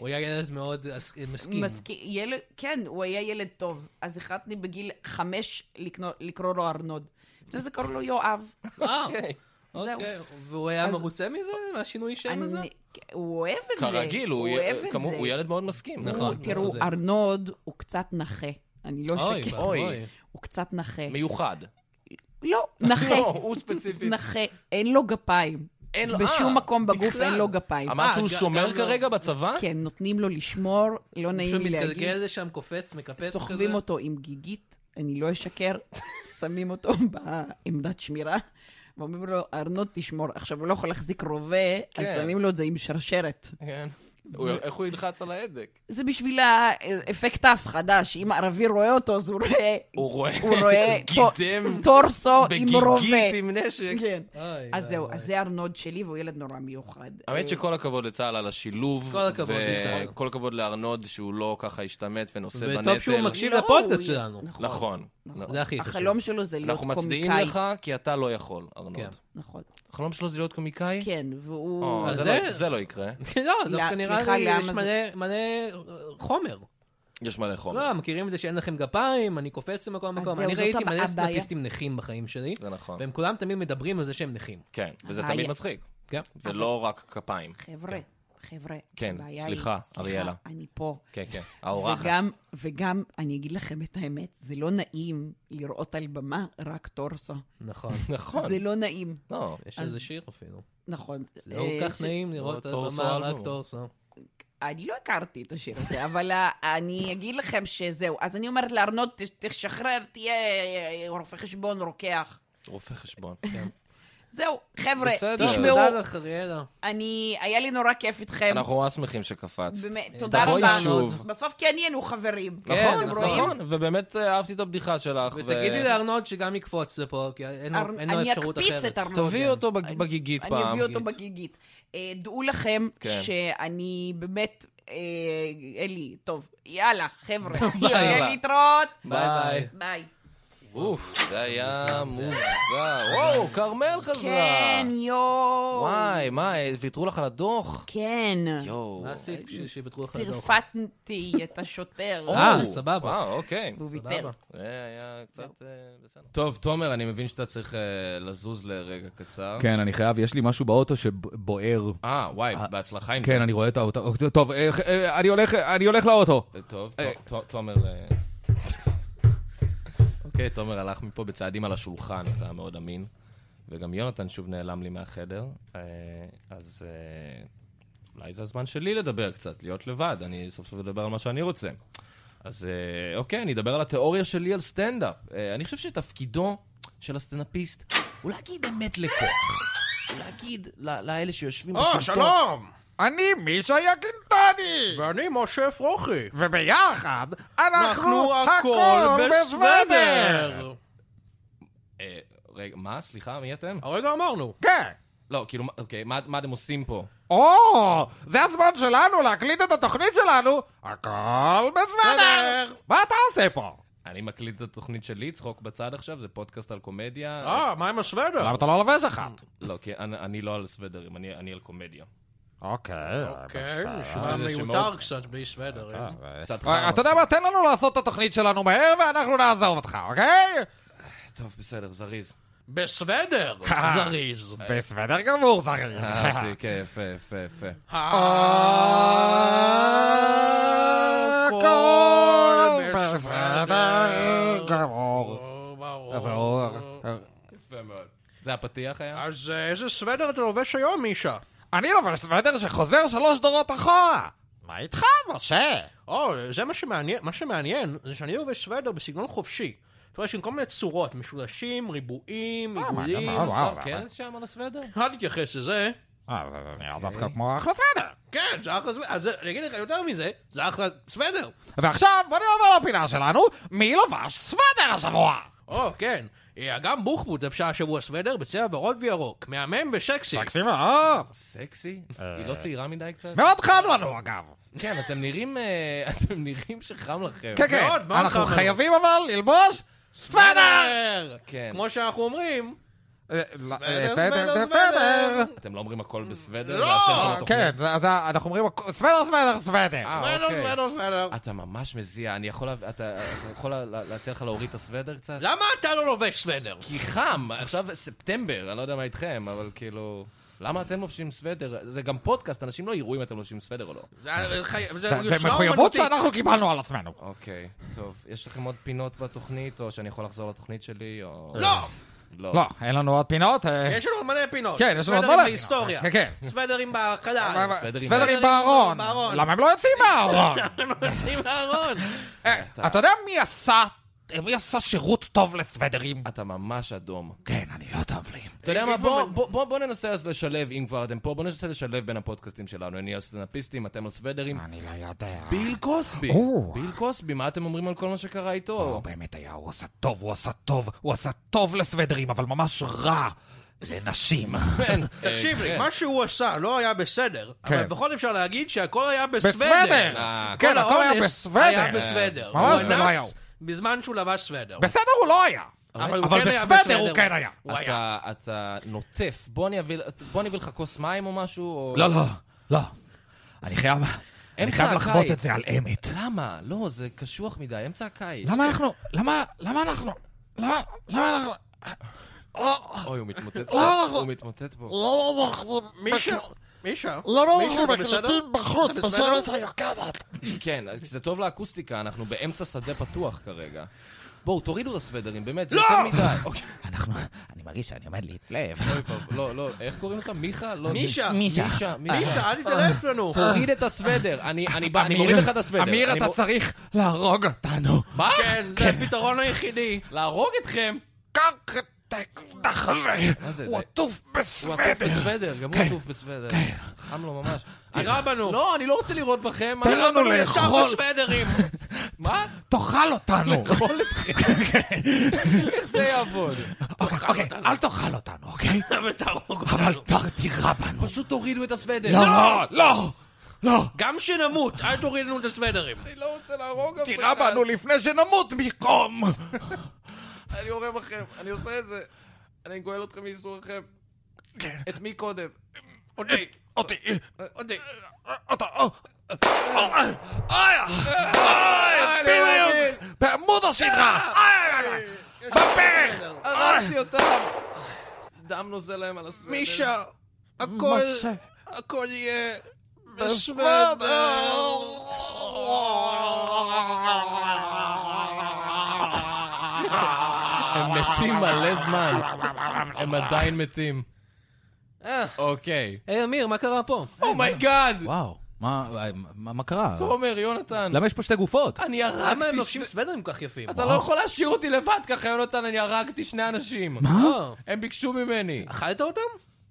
הוא היה ילד מאוד אס- מסכים.
מסכים. ילד, כן, הוא היה ילד טוב. אז החלטתי בגיל חמש לקנו- לקרוא לו ארנוד. לפני זה קראו לו יואב.
וואו.
אוקיי. זהו.
אה, אוקיי, והוא היה
אז-
מרוצה מזה? מהשינוי שם הזה?
אני- כן, הוא אוהב את זה.
כרגיל, הוא
אוהב
י-
את
כמו-
זה. נכון.
הוא ילד מאוד מסכים.
הוא- תראו, ארנוד הוא קצת נכה. אני לא
אוי,
אשקר.
אוי.
הוא קצת נכה.
מיוחד. [LAUGHS]
לא, נכה.
לא, הוא ספציפית.
נכה. אין לו גפיים.
אין לו-
נכון. בשום
אה,
מקום בגוף
בכלל.
אין לו גפיים.
אמרת שהוא שומר כרגע בצבא?
כן, נותנים לו לשמור, לא נעים לי
פשוט
להגיד.
מתגלגל זה שם, קופץ, מקפץ כזה.
סוחבים אותו עם גיגית, אני לא אשקר, [LAUGHS] שמים אותו בעמדת שמירה, ואומרים לו, ארנוד תשמור. עכשיו, הוא לא יכול להחזיק רובה, אז
כן.
שמים לו את זה עם שרשרת.
כן. הוא- איך הוא ילחץ על ההדק?
זה בשביל האפקט ההפחדה, שאם ערבי רואה אותו, אז הוא רואה...
הוא רואה-
הוא
[LAUGHS]
רואה טו-
גידם
טורסו עם
בגיגית
רובה.
עם נשק.
כן.
אוי,
אז זהו,
אוי.
אז זה ארנוד שלי, והוא ילד נורא מיוחד. לא,
האמת שכל הכבוד לצה"ל על השילוב.
כל הכבוד
ו-
לצה"ל.
כל הכבוד לארנוד שהוא לא ככה השתמט ונושא בנטל.
וטוב שהוא מקשיב לא, לפודקאסט הוא- שלנו. נכון.
נכון.
זה הכי חשוב.
החלום שלו זה להיות
אנחנו מצדיעים
קומיקאי.
לך, כי אתה לא יכול,
כן.
ארנוד.
נכון.
החלום שלו זה להיות קומיקאי?
כן,
או,
והוא...
זה לא- זה לא יקרה.
[LAUGHS] לא,
לא,
דווקא נראה
סליחה,
לי
למה
יש
זה-
מלא- מלא אה, חומר.
יש מלא חומר.
לא, מכירים את זה שאין לכם גפיים, אני קופץ למקום
אז
למקום.
זהו,
אני
זאת
ראיתי
הבע-
מלא
הבעיה.
סטנאפיסטים נכים בחיים שלי.
זה נכון.
והם כולם תמיד מדברים על זה שהם נכים.
אה,
כן, וזה
הבעיה.
תמיד מצחיק.
כן.
ולא רק כפיים.
חבר'ה, חבר'ה,
כן,
הבעיה היא-
סליחה, אריאלה.
אני פה.
כן, כן, האורחת.
וגם, וגם, אני אגיד לכם את האמת, זה לא נעים לראות על במה רק טורסו.
נכון.
נכון.
זה לא נעים.
לא,
יש איזה שיר אפילו.
נכון.
זה לא כל כך נעים לראות על
טורסו
הבמה רק
אלבום.
טורסו.
אני לא הכרתי את השיר הזה, אבל אה, אני אגיד לכם שזהו. אז אני אומרת לארנוד, "ת- תשחרר, תהיה אה, רופא חשבון, רוקח.
רופא חשבון, כן.
זהו, חבר'ה,
בסדר.
תשמעו.
תודה לך,
אני, היה לי נורא כיף איתכם.
אנחנו ממש שמחים שקפצת.
באמת, תודה
תבואי
רבה.
שוב.
בסוף כן נהיינו חברים.
נכון,
אתם כן, רואים?
נכון, ובאמת אה, אהבתי את הבדיחה שלך. ו-
ותגידי לארנוד שגם יקפוץ לפה, כי אין לו-
אר-
אין לו
אני
אפשרות אחרת.
אקפיץ את ארנוד.
תביאי אותו בג- בגיגית פעם.
לא אני אביא אותו בגיגית. אה, דעו לכם
כן.
שאני באמת, אה, אלי, טוב, יאללה, חבר'ה.
[LAUGHS] ביי.
יאללה, להתראות.
ביי, ביי.
ביי.
אוף, זה היה מוזר. וואו, כרמל חזרה.
כן, יואו.
וואי, מה, ויתרו לך על הדוח?
כן.
יואו.
מה עשית כש- שוויתרו לך על הדוח?
צירפתי את השוטר.
אה, סבבה. וואו, אוקיי.
והוא
סבבה.
ויתר.
זה היה קצת אה, בסדר. טוב, תומר, אני מבין שאתה צריך אה, לזוז לרגע קצר.
כן, אני חייב, יש לי משהו באוטו שבוער.
אה, וואי, בהצלחה עם זה.
כן, אני רואה את האוטו. אוקיי, טוב, אה, אה, אני הולך- אני הולך לאוטו.
אה, טוב, טוב, תומר... אה, [LAUGHS] אוקיי, תומר הלך מפה בצעדים על השולחן, אתה מאוד אמין. וגם יונתן שוב נעלם לי מהחדר, אה, אז אה, אולי זה הזמן שלי לדבר קצת, להיות לבד, אני סוף סוף אדבר על מה שאני רוצה. אז אה, אוקיי, אני אדבר על התיאוריה שלי על סטנדאפ. אה, אני חושב שתפקידו של הסטנדאפיסט הוא להגיד אמת לכוח. הוא להגיד ל- לאלה
אה,
שיושבים
אה,
אה,
בשלטון...
אני מישה יקינטני!
ואני משה אפרוחי!
וביחד
אנחנו
אנחנו
הכל
הכל
בסוודר.
בסוודר!
אה, רגע, מה? סליחה, מי אתם?
הרגע אמרנו.
כן.
לא, כאילו, מה- אוקיי, מה מה אתם עושים פה?
או, זה הזמן שלנו להקליט את התוכנית שלנו, הכל בסוודר! מה אתה עושה פה?
אני מקליט את התוכנית שלי, צחוק בצד עכשיו, זה פודקאסט על קומדיה.
אה, מה עם הסוודר? למה אתה לא לובש אחת?
לא, כי אני אני לא על סוודרים, אני אני על קומדיה.
אוקיי,
אוקיי,
נשמע מיותר קצת בלי סוודר. אה?
קצת
אה,
חם.
אתה יודע מה? תן לנו לעשות את התוכנית שלנו מהר ואנחנו נעזוב אותך, אוקיי?
טוב, בסדר,
[LAUGHS]
זריז.
בסוודר!
אה.
זריז.
בסוודר גמור, [LAUGHS] זריז.
אהבתי, כן, יפה, יפה, יפה.
אה,
אה. הכל בסדר גמור.
יפה מאוד. זה הפתיח היה?
אז אה, איזה סוודר אתה לובש היום, מישה?
אני לובש סוודר שחוזר שלוש דורות אחורה. מה איתך, משה?
או, זה מה שמעניין, מה שמעניין זה שאני לובש סוודר בסגנון חופשי. אתה רואה יש עם כל מיני צורות, משולשים, ריבועים,
מה,
עיגולים.
גם, אה, וואו,
כן.
כנס
שם על הסוודר?
אל תתייחס לזה.
אה, זה נראה דווקא כמו אחלה סוודר.
כן, זה אחלה סוודר. אז זה- אני אגיד לך יותר מזה, זה אחלה סוודר.
ועכשיו בוא נעבור לפינה שלנו, מי לבש סוודר השבוע?
או, כן. אה, אגם בוחבוט לבשה השבוע סוודר בצבע ורוד וירוק. מהמם ושקסי.
סקסי
ah.
מאוד.
סקסי?
אה.
היא לא צעירה מדי קצת?
מאוד חם לנו אגב.
כן, אתם נראים אה, [LAUGHS] אתם נראים שחם לכם.
כן, כן, אנחנו חייבים אבל ללבוש סוודר!
כן.
כמו שאנחנו אומרים.
סוודר,
סוודר,
סוודר,
סוודר.
סוודר.
אתם לא אומרים הכל בסוודר?
לא!
זה השם של התוכנית.
כן, זה- זה- אנחנו אומרים, סוודר, סוודר, סוודר.
אה, אוקיי.
סוודר, סוודר.
אתה ממש מזיע, אני יכול... לה- אתה אתה יכול לה- להציע לך להוריד את הסוודר קצת?
למה אתה לא לובש סוודר?
כי חם, עכשיו ספטמבר, אני לא יודע מה איתכם, אבל כאילו... למה אתם לובשים סוודר? זה גם פודקאסט, אנשים לא יראו אם אתם לובשים סוודר או לא.
אה, זה מחויבות שאנחנו קיבלנו על עצמנו.
אוקיי, טוב. יש לכם עוד פינות בתוכנית, או שאני יכול לחזור לתוכנית שלי, או...
לא.
לא.
לא, אין לנו עוד פינות. אה,
יש לנו עוד מלא פינות.
כן, יש לנו עוד
סוודרים
מלא
בהיסטוריה.
פינות. כן,
סוודרים בחלל.
סוודרים
סוודרים אה, בארון.
בארון.
למה הם לא יוצאים מהארון?
הם לא יוצאים
[LAUGHS]
מהארון.
אה, אתה יודע מי עשה... מי עשה שירות טוב לסוודרים?
אתה ממש אדום.
כן, אני לא טוב לי.
אתה יודע מה, בוא- בוא- בוא בוא ננסה אז לשלב, אם כבר אתם פה, בוא ננסה לשלב בין הפודקאסטים שלנו. אני על סטנאפיסטים, אתם על סוודרים.
אני לא יודע.
ביל קוסבי.
או.
ביל קוסבי, מה אתם אומרים על כל מה שקרה [LAUGHS] איתו?
באמת היה, הוא עשה טוב, הוא עשה טוב, הוא עשה טוב לסוודרים, אבל ממש רע לנשים.
כן.
תקשיב לי, מה שהוא עשה לא היה בסדר,
כן.
אבל בכל זאת אפשר להגיד שהכל היה בסוודר.
בסוודר! כן,
כל
הכל היה
האונס
בסוודר.
היה בסוודר.
ממש
הוא
זה לא
אנס
היה הוא.
בזמן שהוא לבש סוודר.
בסדר, הוא לא היה.
הוא
אבל
כן היה
בסוודר
בסוודר.
הוא כן היה.
הוא היה.
אתה- אתה נוטף, בוא אני אביא בוא אני אביא לך כוס מים או משהו? או-
לא, לא, לא. אני חייב, אני
אמצע
חייב לחוות
הקיץ.
את זה על אמת.
למה? לא, זה קשוח מדי, אמצע הקיץ.
למה אנחנו, למה, למה אנחנו, למה, למה אנחנו...
אוי, הוא מתמוטט
לא,
פה,
לא.
הוא מתמוטט פה.
לא, לא, אנחנו...
מישהו-
מישה?
לא
למה
מישה,
אנחנו
אתה בסדר?
מקליטים בחוץ,
אתה בסדר?
בשמש היוקדת?
כן, זה טוב לאקוסטיקה, אנחנו באמצע שדה פתוח כרגע. בואו, תורידו את הסוודרים, באמת, זה
לא!
יותר מדי. אוקיי.
אני מרגיש שאני עומד להתלהב.
אוי ואבוי, לא, לא, איך קוראים לך? מיכה? לא,
מישה.
מישה. מישה,
מישה, אל תתעלף לנו.
תוריד את הסוודר. אני אני בא- אני מוריד לך את הסוודר.
אמיר,
אני
אתה
מור-
צריך
להרוג אותנו.
מה?
כן, זה הפתרון היחידי.
להרוג אתכם? מה זה, זה- הוא עטוף בסוודר, גם הוא
כן,
עטוף בסוודר. חם לו ממש.
תירה בנו.
לא, אני לא רוצה לראות בכם.
תן
אני-
לנו
אבל הוא ישר
לאכול.
בסוודרים. מה?
תאכל
[LAUGHS]
אותנו.
לאכול אתכם. איך זה יעבוד?
אוקיי, אוקיי, אל תאכל אותנו,
[LAUGHS]
אוקיי?
אבל תהרוג
אבל תירה בנו.
פשוט תורידו את הסוודר.
לא, לא, לא.
גם שנמות, אל תוריד לנו את הסוודרים. אני
לא רוצה להרוג אף
תירה בנו לפני שנמות מקום.
אני יורה בכם, אני עושה את זה. אני גואל אתכם מייסורכם.
כן.
את מי קודם? אוקיי.
אותי.
אותי.
אותי.
אותה. אוי, אוי, בדיוק. בעמוד השדרה.
אה,
בפרח.
אה.
הרגתי אותם. דם נוזל להם על הסוודר.
מישה, הכל,
מצה.
הכל יהיה
בסוודר.
אה, בסוודר.
הם מתים מלא זמן. הם עדיין מתים. אוקיי.
היי אה, אמיר, מה קרה פה?
אומייגאד!
וואו, מה- מה מה קרה?
תומר, יונתן.
למה יש פה שתי גופות?
אני הרגתי...
למה הם
שני-
לובשים סוודרים כל כך יפים?
אתה לא יכול להשאיר אותי לבד ככה, יונתן, אני הרגתי שני אנשים.
מה?
הם ביקשו ממני.
אה, אכלת אותם?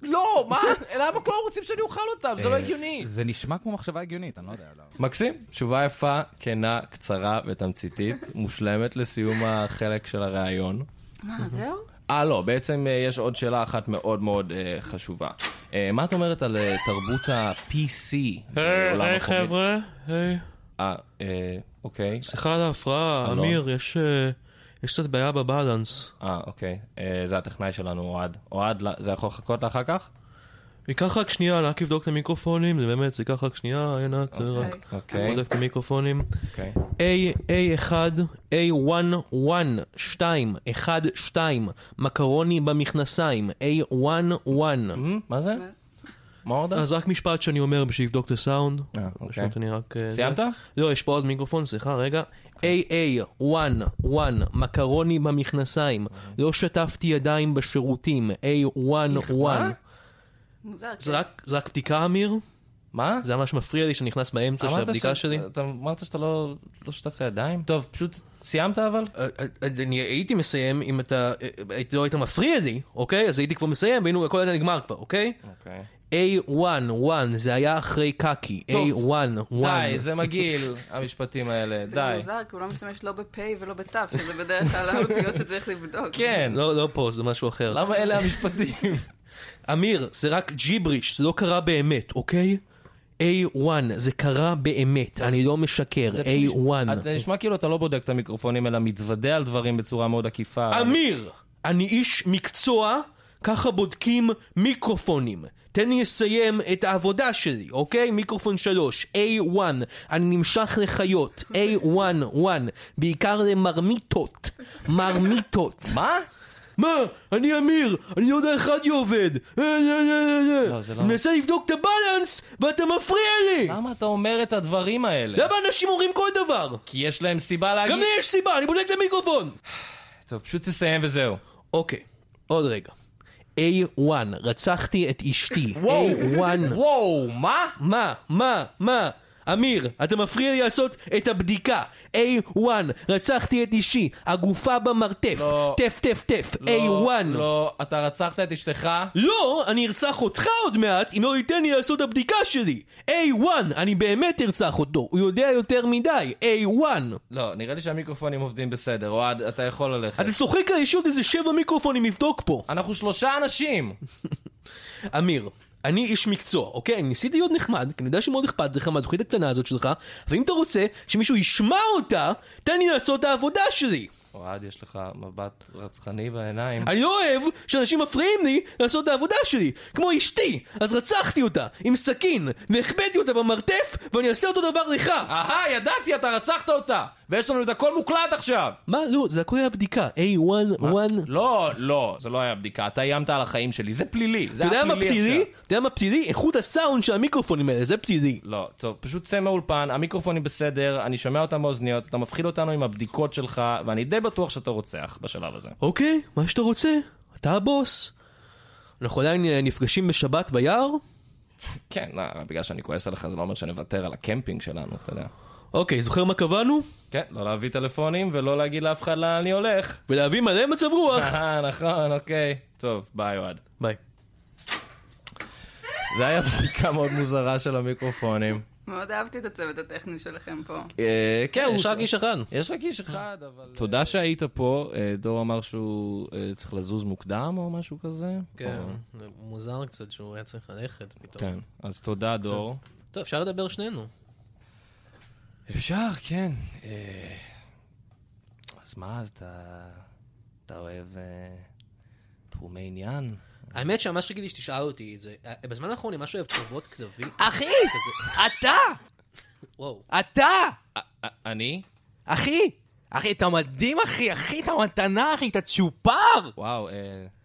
לא, מה? למה כולם רוצים שאני אוכל אותם? זה לא
אה,
הגיוני.
זה נשמע כמו מחשבה הגיונית, אני לא יודע. לא.
מקסים, תשובה יפה, כנה, קצרה [LAUGHS] ותמציתית, מושלמת לסיום החלק של הראיון.
מה, זהו?
אה, לא, בעצם אה, יש עוד שאלה אחת מאוד מאוד אה, חשובה. אה, מה את אומרת על אה, תרבות ה-PC בעולם
היי, היי
הקומיקס?
אה, חבר'ה, היי.
אה, אה, אוקיי.
סליחה על ההפרעה,
אה, לא.
אמיר, יש אה, יש קצת בעיה בבלנס.
אה, אוקיי. אה, זה הטכנאי שלנו, אוהד. אוהד, לא- זה יכול לחכות לאחר כך?
ייקח רק שנייה רק לבדוק את המיקרופונים, זה באמת, זה ייקח רק שנייה, עינת, זה רק
אוקיי.
בודק את המיקרופונים.
אוקיי.
A1, A1, 1, 2, 1, 2, מקרוני במכנסיים, A1, 1.
מה זה? מה עוד?
אז רק משפט שאני אומר בשביל לבדוק את הסאונד.
אה,
אוקיי. אני רק... אה,
סיימת? אוקיי.
זה. לא, יש פה עוד מיקרופון, סליחה, רגע. AA, 1, 1, מקרוני במכנסיים, לא שטפתי ידיים בשירותים, A1, 1.
מוזר. כאילו,
זה רק, זה רק בדיקה, אמיר?
מה?
זה ממש מפריע לי שאני נכנס באמצע של
אמרת
הבדיקה
ש-
שלי.
אתה אמרת שאתה לא לא שטפת ידיים? טוב, פשוט סיימת אבל?
אה, אני הייתי מסיים אם אתה... אה, אה, היית- לא היית מפריע לי, אוקיי? אז הייתי כבר מסיים, והיינו, הכל היה נגמר כבר, אוקיי?
אוקיי.
A1, 1, זה היה אחרי קקי. A1,
טוב.
1.
די, זה מגעיל, המשפטים האלה,
זה
די.
מוזר, כי הוא לא משתמש לא בפ' ולא בת', שזה בדרך כלל האותיות שצריך לבדוק.
כן.
לא, לא פה, זה משהו אחר.
למה אלה [LAUGHS] המשפטים?
אמיר, זה רק ג'יבריש, זה לא קרה באמת, אוקיי? A1, זה קרה באמת, אני לא משקר,
זה פשוט
A1.
נשמע- זה נשמע כאילו אתה לא בודק את המיקרופונים, אלא מתוודה על דברים בצורה מאוד עקיפה.
אמיר, אני איש מקצוע, ככה בודקים מיקרופונים. תן לי לסיים את העבודה שלי, אוקיי? מיקרופון 3, A1, אני נמשך לחיות, A1, 1, בעיקר למרמיתות, מרמיתות.
מה?
מה? אני אמיר, אני לא יודע איך רדיו עובד. אה, אה, אה, אה, אה.
זה לא-
מנסה לבדוק את הבלנס, ואתה מפריע לי!
למה אתה אומר את הדברים האלה?
למה אנשים אומרים כל דבר?
כי יש להם סיבה להגיד...
גם לי יש סיבה, אני בודק את המיקרופון!
טוב, פשוט תסיים וזהו.
אוקיי, עוד רגע. A1, רצחתי את אשתי.
[LAUGHS] וואו, לא.
A1.
וואו, מה?
מה? מה? מה? אמיר, אתה מפריע לי לעשות את הבדיקה. A1, רצחתי את אישי, הגופה במרתף.
לא.
טף טף טף,
לא,
A1.
לא, אתה רצחת את אשתך?
לא, אני ארצח אותך עוד מעט אם לא ייתן לי לעשות את הבדיקה שלי. A1, אני באמת ארצח אותו, הוא יודע יותר מדי. A1.
לא, נראה לי שהמיקרופונים עובדים בסדר. אוהד, אתה יכול ללכת.
אתה צוחק על יש עוד איזה שבע מיקרופונים לבדוק פה.
אנחנו שלושה אנשים.
אמיר, אני איש מקצוע, אוקיי? אני ניסיתי להיות נחמד, כי אני יודע שמאוד אכפת לך מהתוכנית הקטנה הזאת שלך, ואם אתה רוצה שמישהו ישמע אותה, תן לי לעשות את העבודה שלי.
אוהד, יש לך מבט רצחני בעיניים.
אני לא אוהב שאנשים מפריעים לי לעשות את העבודה שלי, כמו אשתי, אז רצחתי אותה עם סכין, והחבאתי אותה במרתף, ואני אעשה אותו דבר לך.
אה, אהה, ידעתי, אתה רצחת אותה! ויש לנו את הכל מוקלט עכשיו!
מה? לא, זה הכל היה בדיקה. A1, 1...
לא, לא, זה לא היה בדיקה, אתה איימת על החיים שלי, זה פלילי. זה
אתה יודע
היה
מה
פלילי
פתילי?
עכשיו.
אתה יודע מה פתילי? איכות הסאונד של המיקרופונים האלה, זה פתילי.
לא, טוב, פשוט צא מהאולפן, המיקרופונים בסדר, אני שומע אותם באוזניות, אתה מפחיד אותנו עם הבדיקות שלך, ואני די בטוח שאתה רוצח בשלב הזה.
אוקיי, מה שאתה רוצה, אתה הבוס. אנחנו עדיין אה, נפגשים בשבת ביער?
כן, לא, בגלל שאני כועס עליך זה לא אומר שנוותר על הקמפינג שלנו, אתה יודע.
אוקיי, זוכר מה קבענו?
כן, לא להביא טלפונים ולא להגיד לאף אחד לאן אני הולך. [LAUGHS]
ולהביא מלא מצב רוח.
אה, נכון, אוקיי. טוב, ביי אוהד.
ביי.
זה היה בדיקה מאוד מוזרה של המיקרופונים.
מאוד אהבתי את הצוות הטכני שלכם פה.
אה, כן,
לא
יש
הוא-
רק איש אחד.
יש רק איש אחד, אבל... תודה שהיית פה, אה, דור אמר שהוא אה, צריך לזוז מוקדם או משהו כזה.
כן,
או-
זה מוזר קצת שהוא היה צריך ללכת פתאום.
כן, אז תודה
קצת.
דור.
טוב, אפשר לדבר שנינו.
אפשר, כן. אה, אז מה, אז אתה... אתה אוהב אה, תחומי עניין?
האמת שממש רציתי שתשאל אותי את זה. אה, בזמן האחרון, אני ממש אוהב קרבות כלבים.
אחי! אתה!
וואו.
אתה!
אה, אני?
אחי! אחי, אתה מדהים, אחי! אחי, אתה מתנה, אחי! אתה צ'ופר!
וואו, אה,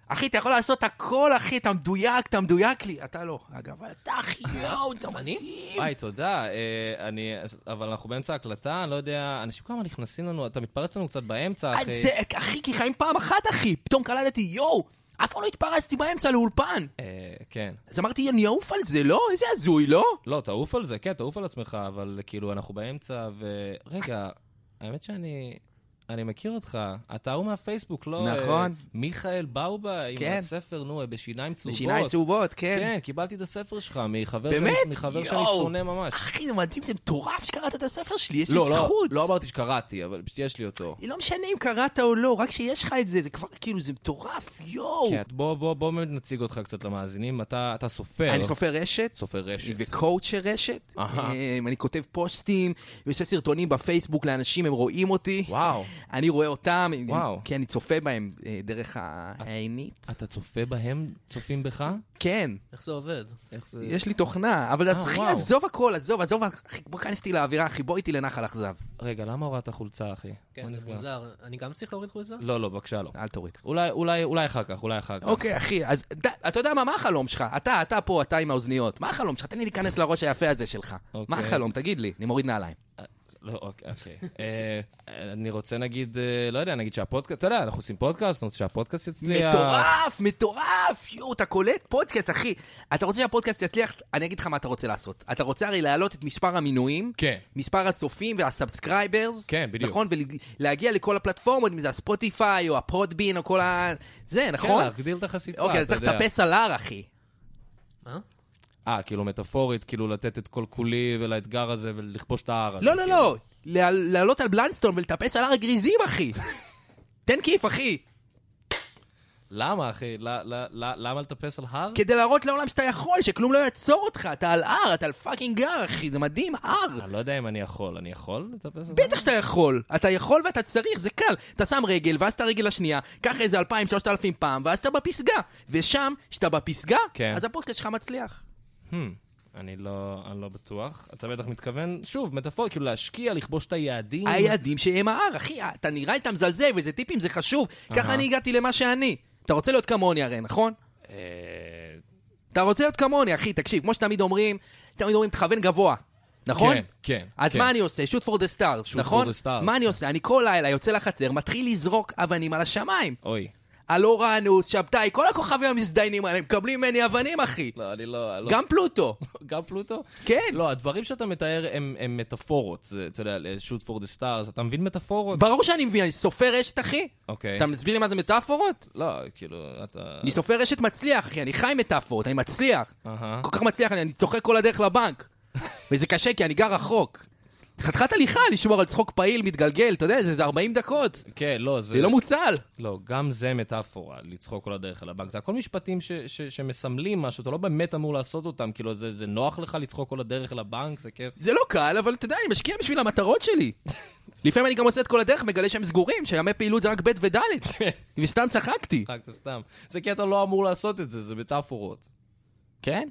אחי, אתה יכול לעשות הכל, אחי! אתה מדויק, אתה מדויק לי! אתה לא. אגב, אבל אתה, אחי! יואו, אתה מדהים!
וואי, תודה. אה, אני... אבל אנחנו באמצע הקלטה, אני לא יודע... אנשים כמה נכנסים לנו, אתה מתפרץ לנו קצת באמצע,
אה,
אחי.
זה, אחי, כי חיים פעם אחת, אחי! פתאום קלטתי, יואו! אף פעם לא התפרצתי באמצע לאולפן!
אה, כן.
אז אמרתי, אני אעוף על זה, לא? איזה הזוי, לא?
לא, תעוף על זה, כן, תעוף על עצמך, אבל כאילו, אנחנו באמצע, ו... רגע, האמת שאני... אני מכיר אותך, אתה ההוא מהפייסבוק, לא? אה,
נכון.
מיכאל באובה עם
כן.
הספר, נו, אה, בשיניים צהובות.
בשיניים צהובות, כן.
כן, קיבלתי את הספר שלך מחבר
באמת?
שאני- מחבר שאני
יואו.
שונא ממש.
אחי, זה מדהים, זה מטורף שקראת את הספר שלי, יש לי
לא, לא,
זכות!
לא אמרתי שקראתי, אבל פשוט יש לי אותו.
לא משנה אם קראת או לא, רק שיש לך את זה, זה כבר, כאילו, זה מטורף, יואו!
כן, בוא, בוא, בוא באמת נציג אותך קצת למאזינים, אתה, אתה סופר.
אני סופר רשת.
סופר רשת.
וקואוצ'ר רשת.
אהה.
אמ, אני כותב פוסטים, ועושה סרטונים בפייסבוק לאנשים, הם רואים אותי.
וואו.
אני רואה אותם, הם-
וואו.
כי אני צופה בהם אה, דרך העינית.
אתה צופה בהם? צופים בך?
כן.
איך זה עובד?
איך זה...
יש לי תוכנה, אבל
אה,
אחי,
וואו.
עזוב הכל, עזוב, עזוב, אחי, בוא כנס איתי לאווירה, אחי, בוא איתי לנחל אכזב.
רגע, למה הורדת חולצה, אחי? מה
כן, זה
נסגר?
מוזר. אני גם צריך להוריד חולצה?
כן.
לא, לא, בבקשה לא.
אל תוריד.
אולי, אולי, אולי אחר כך, אולי אחר כך.
אוקיי, אחי, אז ד- אתה יודע מה, מה החלום שלך? אתה, אתה פה, אתה עם האוזניות. מה החלום שלך? תן לי להיכנס לראש היפה הזה שלך.
אוקיי.
מה החלום? תגיד לי, אני מוריד נעליים.
לא, אוקיי. אוקיי. אה, אני רוצה נגיד, אה, לא יודע, נגיד שהפודקאסט, אתה יודע, אנחנו עושים פודקאסט, אני רוצה שהפודקאסט יצליח.
מטורף, מטורף, יואו, אתה קולט פודקאסט, אחי. אתה רוצה שהפודקאסט יצליח? אני אגיד לך מה אתה רוצה לעשות. אתה רוצה הרי להעלות את מספר המינויים,
כן.
מספר הצופים והסאבסקרייברס,
כן, בדיוק.
נכון? ולהגיע לכל הפלטפורמות, אם זה הספוטיפיי או הפודבין או כל ה... זה, נכון?
להגדיל את החשיפה,
אוקיי, אתה
כן, אה, אתה
צריך
יודע.
לטפס על הר, אחי.
אה, כאילו מטאפורית, כאילו לתת את כל כולי ולאתגר הזה ולכבוש את ההר הזה.
לא, לא, לא,
כן.
לה- לעלות על בלנסטון ולטפס על הר הגריזים,
[LAUGHS]
אחי. תן כיף, אחי.
למה, אחי? ל- ל- ל- למה לטפס על הר?
כדי להראות לעולם שאתה יכול, שכלום לא יעצור אותך. אתה על הר, אתה על פאקינג הר, אחי, זה מדהים, הר.
אני לא יודע אם אני יכול. אני יכול לטפס על הר?
בטח שאתה יכול. אתה יכול ואתה צריך, זה קל. אתה שם רגל, ואז את הרגל השנייה, קח איזה 2,000, 3,000 פעם, ואז אתה בפסגה. ושם, כשאתה בפסגה,
כן.
אז הפודקאסט שלך מצליח.
Hmm, אני לא, אני לא בטוח. אתה בטח מתכוון, שוב, מטאפורית, כאילו להשקיע, לכבוש את היעדים.
היעדים שהם ההר, אחי, אתה נראה איתם מזלזל, וזה טיפים, זה חשוב.
אהה.
ככה אני הגעתי למה שאני. אתה רוצה להיות כמוני הרי, נכון?
אה,
אתה רוצה להיות כמוני, אחי, תקשיב, כמו שתמיד אומרים, תמיד אומרים, תכוון גבוה, נכון?
כן, כן.
אז
כן.
מה אני עושה? שוט פור דה סטארס,
Shoot for
נכון?
the stars. כן.
מה אני עושה? אני כל לילה יוצא לחצר, מתחיל לזרוק אבנים על השמיים.
אוי.
על אורנוס, שבתאי, כל הכוכבים המזדיינים האלה, הם מקבלים ממני אבנים, אחי.
לא, אני לא... לא-
גם פלוטו.
גם פלוטו?
כן.
לא, הדברים שאתה מתאר הם, הם מטאפורות. זה, אתה יודע, shoot for the stars, אתה מבין מטאפורות?
ברור שאני מבין, אני סופר רשת, אחי.
אוקיי.
אתה מסביר לי מה זה מטאפורות?
לא, כאילו, אתה...
אני סופר רשת מצליח, אחי, אני חי מטאפורות, אני מצליח.
אהה.
כל כך מצליח, אני אני צוחק כל
[LAUGHS]
הדרך לבנק. וזה קשה, כי אני גר רחוק. חתיכת הליכה לשמור על צחוק פעיל, מתגלגל, אתה יודע, זה זה 40 דקות.
כן, לא, זה...
זה לא מוצל.
לא, גם זה מטאפורה, לצחוק כל הדרך על הבנק. זה הכל משפטים ש- ש- שמסמלים משהו, אתה לא באמת אמור לעשות אותם. כאילו, זה, זה נוח לך לצחוק כל הדרך על הבנק, זה כיף. [LAUGHS]
זה לא קל, אבל אתה יודע, אני משקיע בשביל המטרות שלי. לפעמים אני גם עושה את כל הדרך, מגלה שהם סגורים, שימי פעילות זה רק ב'
[LAUGHS]
וד'. וסתם צחקתי.
צחקת סתם. זה כי אתה לא אמור לעשות את זה, זה מטאפורות.
כן?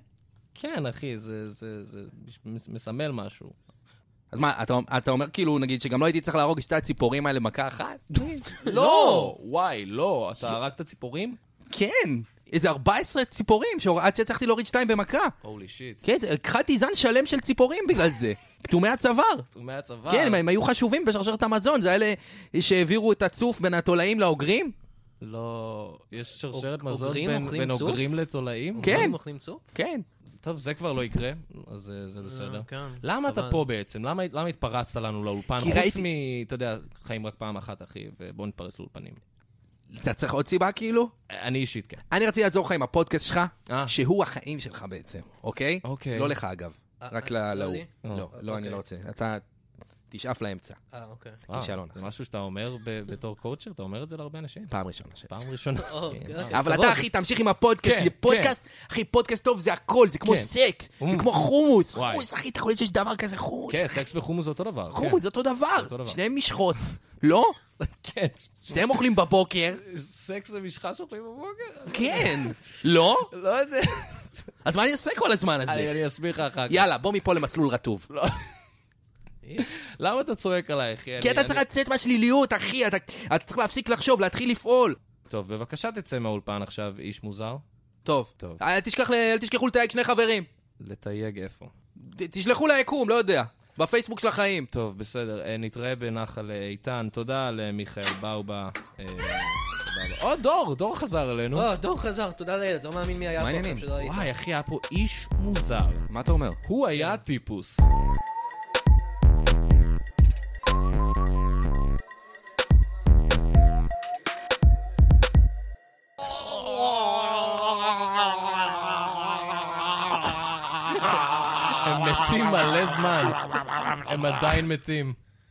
כן, אחי, זה, זה, זה מש- מסמל משהו.
אז מה, אתה, אתה אומר כאילו, נגיד, שגם לא הייתי צריך להרוג את שתי הציפורים האלה
[LAUGHS]
במכה אחת?
לא! וואי, לא. אתה הרגת ציפורים?
כן! איזה 14 ציפורים, שהור- עד שהצלחתי להוריד שתיים במכה.
הולי שיט.
כן, זה- הכחדתי זן שלם של ציפורים בגלל
[LAUGHS]
זה. כתומי הצוואר.
תחומי הצבא.
כן, הם- הם היו חשובים בשרשרת המזון, זה אלה שהעבירו את הצוף בין התולעים לאוגרים?
לא, יש שרשרת
אוג-
מזון
אוגרים
בין
אוכלים
בין
צוף?
אוגרים לתולעים?
כן. אוגרים
אוכלים צוף?
כן.
טוב, זה כבר לא יקרה, אז אה, זה בסדר.
כן,
למה אתה
אבל-
פה בעצם? למה למה התפרצת לנו לאולפן?
כי
חוץ
ראיתי-
מ... אתה יודע, חיים רק פעם אחת, אחי, ובוא נתפרץ לאולפנים.
אתה צריך עוד סיבה כאילו?
אני אישית, כן.
אני רציתי לעזור לך עם הפודקאסט שלך, שהוא החיים שלך בעצם, אוקיי?
אה. אוקיי.
לא לך אגב,
אה,
רק
אה,
ל-
לא
להוא.
לי?
לא,
אה,
לא, אני
אוקיי.
לא רוצה. אתה תשאף לאמצע.
אה, אוקיי.
וואו,
כישלון.
זה משהו שאתה אומר ב- בתור קואוצ'ר? אתה אומר את זה להרבה אנשים?
פעם ראשונה.
פעם ראשונה. [LAUGHS]
אה,
כן.
אוקיי.
אבל אתה, אחי, תמשיך עם הפודקאסט,
כן,
כי פודקאסט, אחי, פודקאסט טוב זה הכל, זה כמו
כן.
סקס, זה
Mm.
כמו חומוס.
וואי.
חומוס, אחי, אתה יכול להיות שיש דבר כזה חומוס.
כן, סקס וחומוס זה אותו דבר.
חומוס זה אותו דבר, שניהם משחות, לא?
[LAUGHS] כן.
שניהם אוכלים בבוקר,
סקס זה משחה שאוכלים בבוקר?
כן, לא?
לא יודע.
אז מה אני עושה כל הזמן הזה?
אני- לא, אני אסביר לך אחר כך.
יאללה, בוא מפה למסלול רטוב.
למה אתה צועק עליי, אחי?
כי
אני-
אתה צריך
אני-
לצאת מהשליליות, אחי, אתה אתה צריך להפסיק לחשוב, להתחיל לפעול.
טוב, בבקשה תצא מהאולפן עכשיו, איש מוזר.
טוב.
טוב.
אל תשכח ל- אל תשכחו לתייג שני חברים.
לתייג איפה.
ת- תשלחו ליקום, לא יודע. בפייסבוק של החיים.
טוב, בסדר. אה, נתראה בנחל אה, איתן. תודה למיכאל באובה. אה, באובה. או, דור, דור חזר אלינו.
לא,
אה, דור חזר, תודה לאל, לא מאמין מי היה פה עכשיו שלא היית.
וואי, אחי, היה פה איש מוזר.
מה אתה אומר?
הוא היה הטיפוס. הם מתים מלא זמן. הם עדיין מתים.